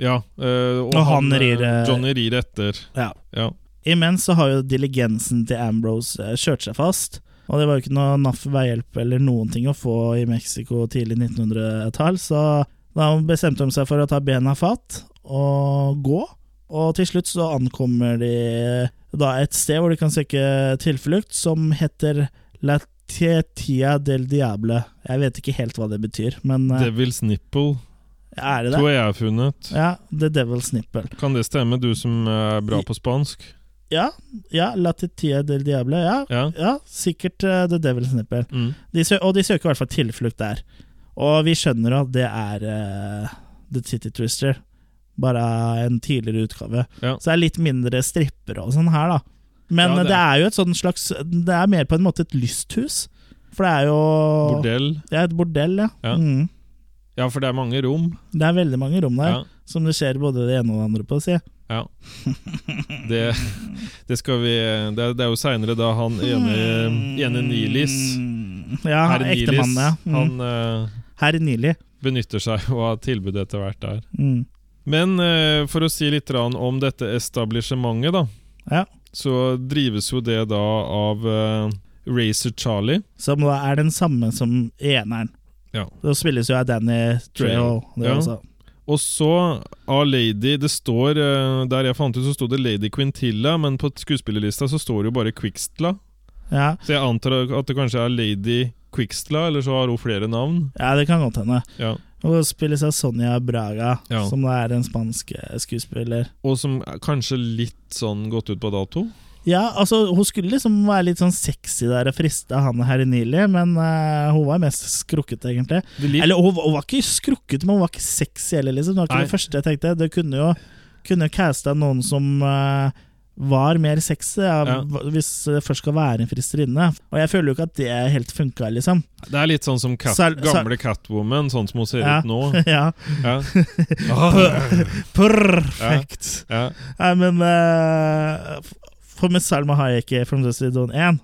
Speaker 2: Ja, eh, og,
Speaker 1: Og han
Speaker 2: eh,
Speaker 1: rir, eh,
Speaker 2: Johnny rir etter.
Speaker 1: Ja.
Speaker 2: Ja.
Speaker 1: Imens så har jo diligensen til Ambrose eh, kjørt seg fast, og det var jo ikke noe NAF veihjelp eller noen ting å få i Mexico tidlig 1900-tall, så da bestemte de seg for å ta bena fatt og gå, og til slutt så ankommer de eh, da et sted hvor de kan søke tilflukt, som heter La Tetia del Diable. Jeg vet ikke helt hva det betyr, men eh,
Speaker 2: Devil's Nipple
Speaker 1: er det det?
Speaker 2: tror jeg er funnet.
Speaker 1: Ja, The Devil's Nipple.
Speaker 2: Kan det stemme, du som eh, er bra på spansk?
Speaker 1: Ja, ja, La Titia del Diable. Ja,
Speaker 2: Ja.
Speaker 1: ja sikkert eh, The Devil's Nipple.
Speaker 2: Mm.
Speaker 1: De sø og de søker i hvert fall tilflukt der. Og vi skjønner at det er eh, The Titty Twister, bare en tidligere utgave.
Speaker 2: Ja.
Speaker 1: Så det er litt mindre strippere og sånn her, da. Men
Speaker 2: Ja,
Speaker 1: eh,
Speaker 2: det
Speaker 1: det, er. jo et sånn slags Det er mer på en måte et lysthus. For det er jo
Speaker 2: Bordell.
Speaker 1: Ja, et bordell, ja.
Speaker 2: Ja.
Speaker 1: Mm.
Speaker 2: Ja, for det er mange rom.
Speaker 1: Det er veldig mange rom der,
Speaker 2: Ja.
Speaker 1: som det skjer både det ene og det andre på, si.
Speaker 2: Ja. Det, det skal vi Det, er- det er jo seinere da han ene, ene Nilis
Speaker 1: Ja, Mm.
Speaker 2: Herr Nilis,
Speaker 1: ektemannen, ja. Mm.
Speaker 2: han eh,
Speaker 1: Herr Nili.
Speaker 2: benytter seg jo av tilbudet etter hvert der.
Speaker 1: Mm.
Speaker 2: Men eh, for å si litt grann om dette establishementet, da,
Speaker 1: Ja.
Speaker 2: så drives jo det da av eh, Racer Charlie.
Speaker 1: Som da er den samme som i eneren.
Speaker 2: Ja.
Speaker 1: Da spilles jo av Danny Trail. Det
Speaker 2: Ja.
Speaker 1: også.
Speaker 2: Og så av Lady Det står eh, Der jeg fant ut, så sto det Lady Quintilla, men på skuespillerlista så står det jo bare Quixtla.
Speaker 1: Ja.
Speaker 2: Så jeg antar at det kanskje er Lady Quixtla, eller så har hun flere navn.
Speaker 1: ja, det kan godt hende.
Speaker 2: Ja.
Speaker 1: Og spilles av Sonja Braga,
Speaker 2: Ja.
Speaker 1: som da er en spansk eh, skuespiller.
Speaker 2: Og som er kanskje litt sånn gått ut på dato.
Speaker 1: Ja, altså, hun skulle liksom være litt sånn sexy der og friste han her i Nili, men eh, hun var mest skrukket, egentlig.
Speaker 2: Det lir-
Speaker 1: Eller hun, hun var ikke skrukket, men hun var ikke sexy heller, liksom. Det var ikke
Speaker 2: Nei.
Speaker 1: det første jeg tenkte. Det kunne jo kunne jo casta noen som eh, var mer sexy, ja,
Speaker 2: Ja.
Speaker 1: hva- hvis det først skal være en fristerinne. Og jeg føler jo ikke at det helt funka, liksom.
Speaker 2: Det er litt sånn som cat,
Speaker 1: Sal- sal-
Speaker 2: gamle Catwoman, sånn som hun ser
Speaker 1: Ja.
Speaker 2: ut nå.
Speaker 1: *laughs* ja.
Speaker 2: Ja. Ah,
Speaker 1: Perfekt.
Speaker 2: ja.
Speaker 1: Nei, men eh, f- For med Salma Hayek i From Dusty Dawn 1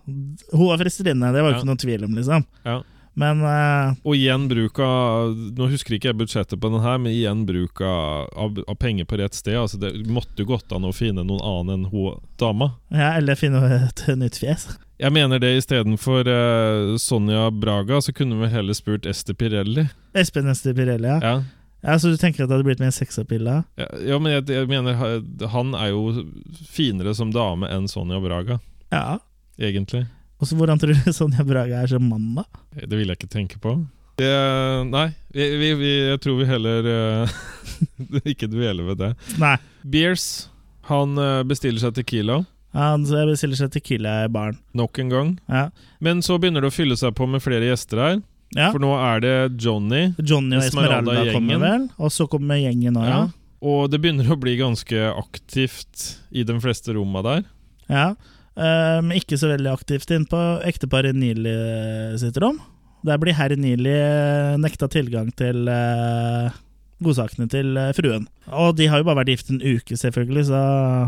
Speaker 1: Hun var fristerinne, det var jo
Speaker 2: Ja.
Speaker 1: ikke noen tvil om, liksom.
Speaker 2: Ja.
Speaker 1: Men eh,
Speaker 2: Og igjen bruk av Nå husker ikke jeg budsjettet på den her, men igjen bruk av, av, av penger på rett sted. Altså Det måtte jo gått an å finne noen annen enn hun dama.
Speaker 1: ja, eller finne et *laughs* nytt fjes.
Speaker 2: Jeg mener det istedenfor uh, Sonja Braga, så kunne vi heller spurt Ester Pirelli.
Speaker 1: Espen Ester Pirelli, ja. ja.
Speaker 2: Ja.
Speaker 1: Så du tenker at det hadde blitt mer sexappeal da?
Speaker 2: Ja, ja, men jeg, jeg mener ha- han er jo finere som dame enn Sonja Braga,
Speaker 1: Ja.
Speaker 2: egentlig.
Speaker 1: Og så hvordan tror du *laughs* Sonja Braga er som mann, da?
Speaker 2: Det vil jeg ikke tenke på. Eh, nei, vi, vi, vi, jeg tror vi heller eh, *laughs* ikke dveler ved det.
Speaker 1: Nei.
Speaker 2: Beers han eh, bestiller seg Tequila
Speaker 1: Han så bestiller seg Tequila i baren.
Speaker 2: nok en gang.
Speaker 1: Ja.
Speaker 2: Men så begynner det å fylle seg på med flere gjester her.
Speaker 1: ja.
Speaker 2: For nå er det Johnny.
Speaker 1: Johnny og
Speaker 2: Esmeralda
Speaker 1: Esmeralda
Speaker 2: gjengen.
Speaker 1: kommer vel, og så kommer gjengen òg, ja.
Speaker 2: Ja. Og det begynner å bli ganske aktivt i de fleste romma der.
Speaker 1: Ja. Eh, Men ikke så veldig aktivt inn på ekteparet Nili eh, sitt rom. Der blir herr Nili eh, nekta tilgang til eh, godsakene til eh, fruen. Og de har jo bare vært gift en uke, selvfølgelig, så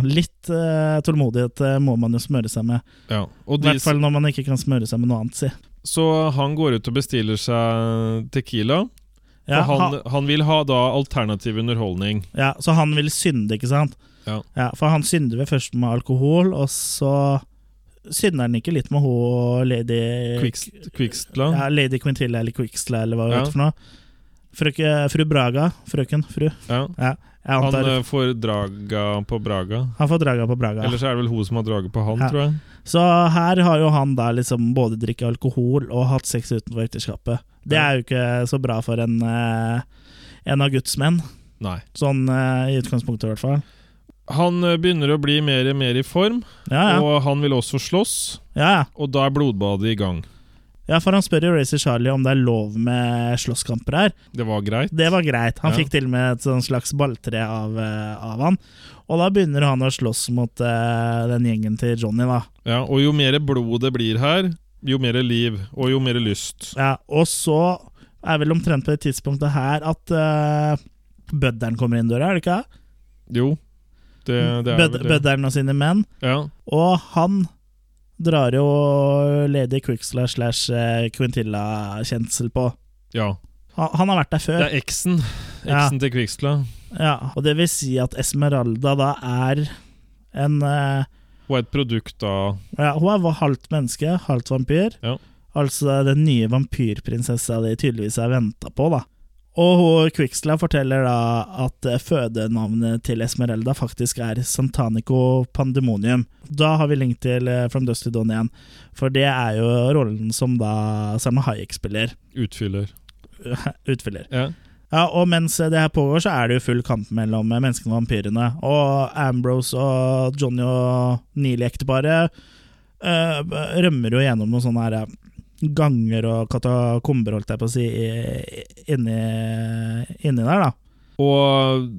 Speaker 1: litt eh, tålmodighet eh, må man jo smøre seg med.
Speaker 2: Ja.
Speaker 1: I
Speaker 2: Og de,
Speaker 1: hvert fall når man ikke kan smøre seg med noe annet, si.
Speaker 2: så han går ut og bestiller seg Tequila.
Speaker 1: Ja,
Speaker 2: for han,
Speaker 1: han,
Speaker 2: han vil ha da alternativ underholdning.
Speaker 1: ja, så han vil synde, ikke sant?
Speaker 2: Ja.
Speaker 1: For han synder vel først med alkohol, og så synder han ikke litt med hun lady
Speaker 2: Quickst- Quickstla.
Speaker 1: Ja, Lady Quintilla eller Quixla eller hva hun
Speaker 2: Ja.
Speaker 1: heter for noe. Frøke, fru Braga. Frøken. Fru.
Speaker 2: Ja.
Speaker 1: Ja, jeg
Speaker 2: Han
Speaker 1: antar
Speaker 2: eh, får draga på Braga.
Speaker 1: han får draga på Braga.
Speaker 2: Eller så er det vel hun som har draget på han,
Speaker 1: Ja.
Speaker 2: tror jeg.
Speaker 1: Så her har jo han da liksom både drikket alkohol og hatt sex utenfor ekteskapet. Det er jo ikke så bra for en, eh, en av Guds menn,
Speaker 2: Nei.
Speaker 1: sånn eh, i utgangspunktet i hvert fall.
Speaker 2: Han eh, begynner å bli mer og mer i form,
Speaker 1: Ja, ja.
Speaker 2: og han vil også slåss.
Speaker 1: ja, ja.
Speaker 2: Og da er blodbadet i gang.
Speaker 1: ja for han spør jo Racer Charlie om det er lov med slåsskamper her.
Speaker 2: Det var greit.
Speaker 1: Det var greit. Han
Speaker 2: Ja.
Speaker 1: fikk til og med et sånn slags balltre av, eh, av han. Og da begynner han å slåss mot eh, den gjengen til Johnny, da.
Speaker 2: Ja, og jo mer blod det blir her, jo mer liv, og jo mer lyst.
Speaker 1: Ja, og så er vel omtrent på det tidspunktet her at eh, bødderen kommer inn døra, er det ikke? det?
Speaker 2: Jo, det, det er
Speaker 1: Bød,
Speaker 2: vel det.
Speaker 1: bødderen og sine menn.
Speaker 2: Ja.
Speaker 1: Og han drar jo lady Quixler slash eh, Quintilla-kjensel på.
Speaker 2: ja.
Speaker 1: Han, han har vært der
Speaker 2: Det
Speaker 1: før,
Speaker 2: er eksen.
Speaker 1: Ja.
Speaker 2: Eksen til Kvikstla.
Speaker 1: ja, og det vil si at Esmeralda da er en eh,
Speaker 2: Hun er et produkt av
Speaker 1: Ja, hun er halvt menneske, halvt vampyr.
Speaker 2: Ja.
Speaker 1: Altså den nye vampyrprinsessa de tydeligvis har venta på, da. Og hun, Quixla forteller da at eh, fødenavnet til Esmerelda faktisk er Santanico Pandemonium. Da har vi link til eh, From Dust to Dawn igjen, for det er jo rollen som da Salma Hayek spiller. *laughs*
Speaker 2: utfyller.
Speaker 1: Utfyller.
Speaker 2: Ja.
Speaker 1: Ja, og mens det her pågår, så er det jo full kamp mellom menneskene og vampyrene. Og Ambrose og Johnny og Neely-ekteparet eh, rømmer jo gjennom noen sånne her eh, ganger og katakomber, holdt jeg på å si, i- inni, inni der, da.
Speaker 2: Og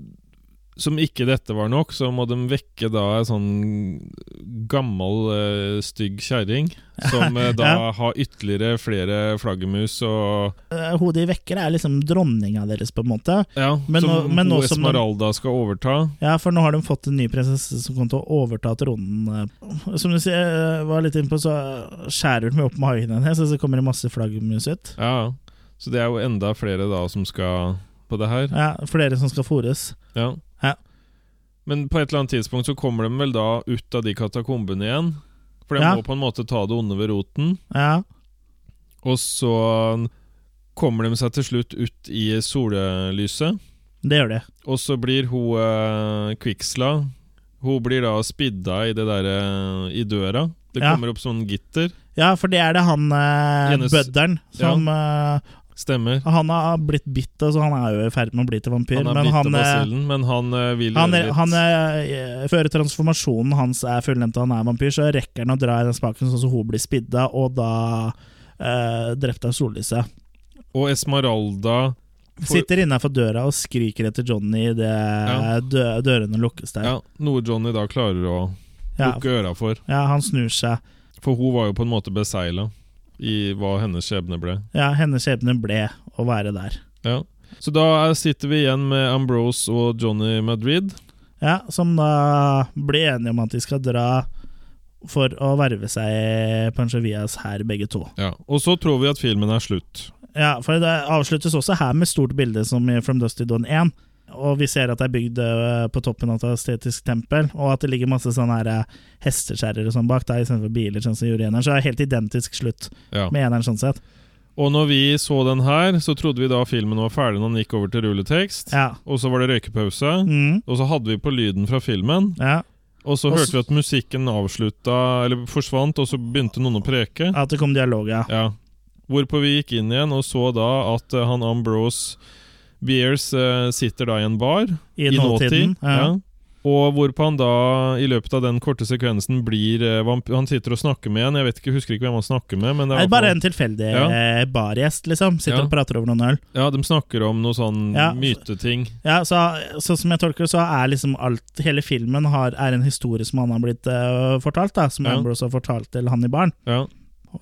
Speaker 2: som ikke dette var nok, så må de vekke da ei sånn gammel, eh, stygg
Speaker 1: *laughs*
Speaker 2: kjerring. Som eh, da
Speaker 1: Ja.
Speaker 2: har ytterligere flere flaggermus og
Speaker 1: Eh, Hodet i vekker er liksom dronninga deres, på en måte.
Speaker 2: Ja,
Speaker 1: Men
Speaker 2: som
Speaker 1: nå- men nå
Speaker 2: hun
Speaker 1: som de-
Speaker 2: Esmeralda skal overta.
Speaker 1: Ja, for nå har de fått en ny prinsesse som kommer til å overta tronen. Som du eh, sier, eh, var litt inne på, så skjærer de opp magen hennes, og så kommer det masse flaggermus ut.
Speaker 2: Ja, ja. Så det er jo enda flere da som skal på det her.
Speaker 1: Ja, flere som skal fôres.
Speaker 2: Ja.
Speaker 1: Ja.
Speaker 2: Men på et eller annet tidspunkt så kommer de vel da ut av de katakombene igjen. For de
Speaker 1: Ja.
Speaker 2: må på en måte ta det onde ved roten.
Speaker 1: Ja,
Speaker 2: Og så kommer de seg til slutt ut i sollyset.
Speaker 1: det gjør de.
Speaker 2: Og så blir hun eh, Kviksla Hun blir da spidda i det derre i døra. Det
Speaker 1: Ja.
Speaker 2: kommer opp sånn gitter.
Speaker 1: Ja, for det er det han eh,
Speaker 2: Gjennes-
Speaker 1: bøddelen som eh,
Speaker 2: Stemmer.
Speaker 1: Han har blitt bitt, og så han er jo i ferd med å bli til vampyr.
Speaker 2: Han er
Speaker 1: men
Speaker 2: bitt av
Speaker 1: han, eh,
Speaker 2: basillen, men han eh, vil
Speaker 1: han,
Speaker 2: gjøre litt
Speaker 1: han eh, Før transformasjonen hans er fullendt og han er vampyr, så rekker han å dra i den spaken sånn at hun blir spidda, og da eh, drept av sollyset.
Speaker 2: Og Esmeralda For-
Speaker 1: Sitter innafor døra og skriker etter Johnny idet
Speaker 2: Ja.
Speaker 1: dø dørene lukkes der. Ja.
Speaker 2: ja, Noe Johnny da klarer å
Speaker 1: Ja.
Speaker 2: lukke øra for.
Speaker 1: han snur seg.
Speaker 2: For hun var jo på en måte besegla i hva hennes skjebne ble.
Speaker 1: Ja, hennes skjebne ble å være der.
Speaker 2: Ja. Så da er- sitter vi igjen med Ambrose og Johnny Madrid.
Speaker 1: Ja, som da blir enige om at de skal dra for å verve seg Pancho Villas her, begge to.
Speaker 2: Ja. Og så tror vi at filmen er slutt.
Speaker 1: Ja, for det avsluttes også her med stort bilde som i From Dusty Dawn 1. Og vi ser at det er bygd eh, på toppen av et estetisk tempel, og at det ligger masse sånne her eh, hesteskjærer og sånn bak der istedenfor biler, sånn som de gjorde i eneren. Så det er helt identisk slutt
Speaker 2: Ja.
Speaker 1: med eneren, sånn sett.
Speaker 2: Og når vi så den her, så trodde vi da filmen var ferdig når den gikk over til rulletekst.
Speaker 1: Ja.
Speaker 2: Og så var det røykepause.
Speaker 1: Mm,
Speaker 2: Og så hadde vi på lyden fra filmen.
Speaker 1: ja.
Speaker 2: Og så
Speaker 1: Og s-
Speaker 2: hørte vi at musikken avslutta, eller forsvant, og så begynte noen å preke.
Speaker 1: At det kom dialog, ja.
Speaker 2: Ja. Hvorpå vi gikk inn igjen og så da at eh, han Ambrose Beers eh, sitter da i en bar
Speaker 1: I, nåtiden.
Speaker 2: Ja.
Speaker 1: Ja.
Speaker 2: Og hvorpå han da, i løpet av den korte sekvensen, blir eh, vamp- Han sitter og snakker med en. Jeg vet ikke, husker ikke hvem han snakker med. Men det
Speaker 1: Det
Speaker 2: er
Speaker 1: er bare en tilfeldig
Speaker 2: Ja.
Speaker 1: eh, bargjest, liksom. Sitter
Speaker 2: Ja.
Speaker 1: og prater over noen øl.
Speaker 2: Ja, De snakker om noe sånn
Speaker 1: Ja.
Speaker 2: myteting.
Speaker 1: Ja, så, så som jeg tolker det, så er liksom alt Hele filmen har, er en historie som han har blitt eh, fortalt, da. Som
Speaker 2: Ja.
Speaker 1: Ambrose har fortalt til han i baren.
Speaker 2: Ja.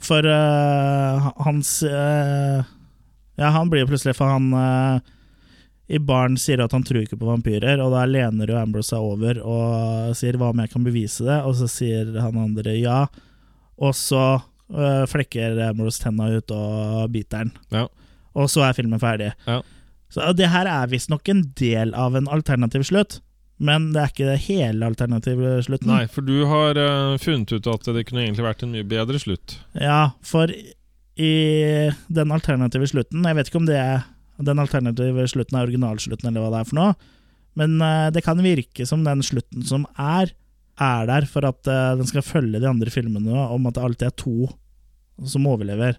Speaker 1: For eh, hans eh, Ja, han blir jo plutselig For han eh, i baren sier at han tror ikke på vampyrer, og da lener jo Ambrose seg over og sier 'hva om jeg kan bevise det', og så sier han andre ja, og så eh, flekker Ambrose tenna ut og biter den.
Speaker 2: Ja.
Speaker 1: Og så er filmen ferdig.
Speaker 2: Ja.
Speaker 1: Så det her er visstnok en del av en alternativ slutt, men det er ikke det hele alternative slutten.
Speaker 2: Nei, for du har eh, funnet ut at det kunne egentlig vært en mye bedre slutt.
Speaker 1: Ja, for i den alternative slutten Jeg vet ikke om det er den alternative slutten er originalslutten, eller hva det er for noe. Men eh, det kan virke som den slutten som er, er der for at eh, den skal følge de andre filmene om at det alltid er to som overlever.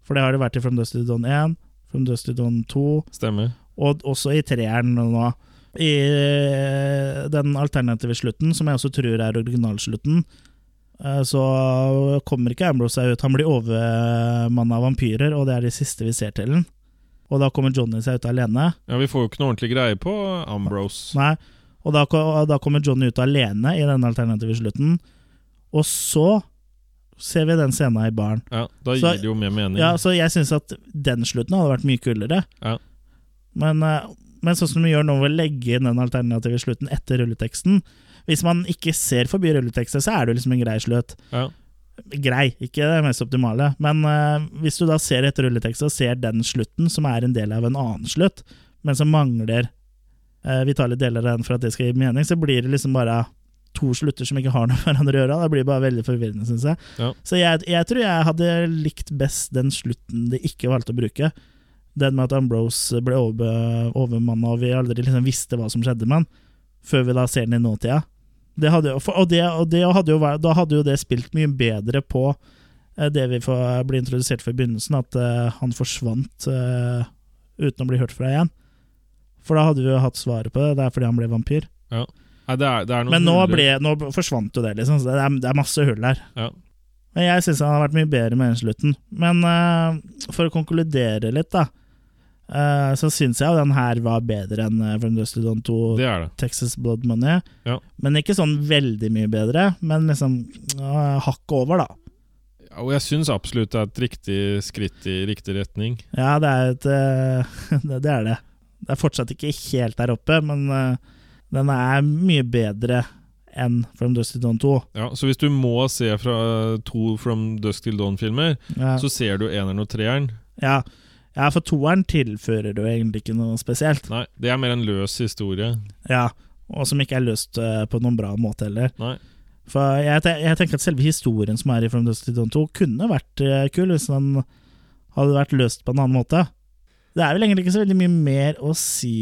Speaker 1: For det har det vært i From Dust to Dawn 1, From Dust to Dawn 2,
Speaker 2: Stemmer.
Speaker 1: og også i treeren nå. I eh, den alternative slutten, som jeg også tror er originalslutten, eh, så kommer ikke Ambrose seg ut. Han blir overmanna av vampyrer, og det er de siste vi ser til den. Og da kommer Johnny seg ut alene.
Speaker 2: Ja, Vi får jo ikke noe ordentlig greie på Ambrose.
Speaker 1: Nei. Og da, ko- og da kommer Johnny ut alene i den alternative slutten. Og så ser vi den scenen i baren.
Speaker 2: Ja, Da
Speaker 1: Så-
Speaker 2: gir det jo mer mening.
Speaker 1: Ja, så jeg syns at den slutten hadde vært mye kulere.
Speaker 2: Ja.
Speaker 1: Men, eh, men sånn som vi gjør nå ved å legge inn den alternative slutten etter rulleteksten Hvis man ikke ser forbi rulleteksten, så er det jo liksom en grei slutt.
Speaker 2: Ja.
Speaker 1: Grei, ikke det mest optimale, men eh, hvis du da ser etter rulleteksten og ser den slutten, som er en del av en annen slutt, men som mangler eh, vitale deler av den for at det skal gi mening, så blir det liksom bare to slutter som ikke har noe med hverandre å gjøre. Det blir bare veldig forvirrende, syns jeg.
Speaker 2: Ja.
Speaker 1: Så jeg, jeg tror jeg hadde likt best den slutten de ikke valgte å bruke. Den med at Ambrose ble over, overmanna, og vi aldri liksom visste hva som skjedde med han, før vi da ser den i nåtida. Det hadde, jo- for- og det, og det hadde jo, vært- da hadde jo det spilt mye bedre på eh, det vi får, ble introdusert for i begynnelsen, at eh, han forsvant eh, uten å bli hørt fra igjen. For da hadde vi jo hatt svaret på det. Det er fordi han ble vampyr.
Speaker 2: Nei, det er, det er noen
Speaker 1: Men nå,
Speaker 2: huller.
Speaker 1: ble, nå forsvant jo det, liksom. Så det er, det er masse hull der.
Speaker 2: Ja.
Speaker 1: Men jeg syns han har vært mye bedre med den slutten. Men eh, for å konkludere litt, da. eh, så syns jeg jo den her var bedre enn eh, From Dusty Dawn 2
Speaker 2: Det er det.
Speaker 1: Texas Blood Money.
Speaker 2: Ja.
Speaker 1: Men ikke sånn veldig mye bedre. Men liksom uh, hakket over, da.
Speaker 2: Ja, Og jeg syns absolutt det er et riktig skritt i riktig retning.
Speaker 1: Ja, det er et eh, *laughs* det- Det er det. Det er fortsatt ikke helt der oppe, men eh, den er mye bedre enn From Dusty Dawn 2.
Speaker 2: Ja, Så hvis du må se fra eh, to From Dusk Till Dawn-filmer,
Speaker 1: Ja.
Speaker 2: så ser du eneren og treeren.
Speaker 1: Ja, Ja, for toeren tilfører jo egentlig ikke noe spesielt.
Speaker 2: Nei, det er mer en løs historie.
Speaker 1: Ja, Og som ikke er løst eh, på noen bra måte heller.
Speaker 2: Nei.
Speaker 1: For jeg, te- jeg tenker at selve historien som er i From Dust to Dawn 2, kunne vært eh, kul hvis den hadde vært løst på en annen måte. Det er vel egentlig ikke så veldig mye mer å si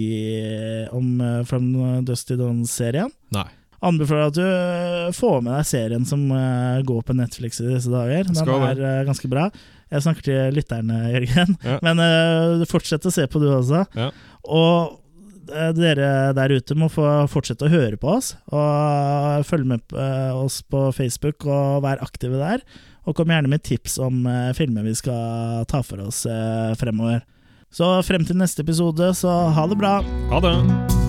Speaker 1: om eh, From Dust to Dawn-serien.
Speaker 2: Nei.
Speaker 1: Anbefaler at du eh, får med deg serien som eh, går på Netflix i disse dager. Den
Speaker 2: Skal
Speaker 1: er
Speaker 2: det.
Speaker 1: eh, ganske bra. Jeg snakker til lytterne, Jørgen.
Speaker 2: Ja.
Speaker 1: Men eh, fortsett å se på, du også.
Speaker 2: Ja.
Speaker 1: Og eh, dere der ute må få fortsette å høre på oss, og følge med eh, oss på Facebook og være aktive der. Og kom gjerne med tips om eh, filmer vi skal ta for oss eh, fremover. Så frem til neste episode, så ha det bra!
Speaker 2: Ha det.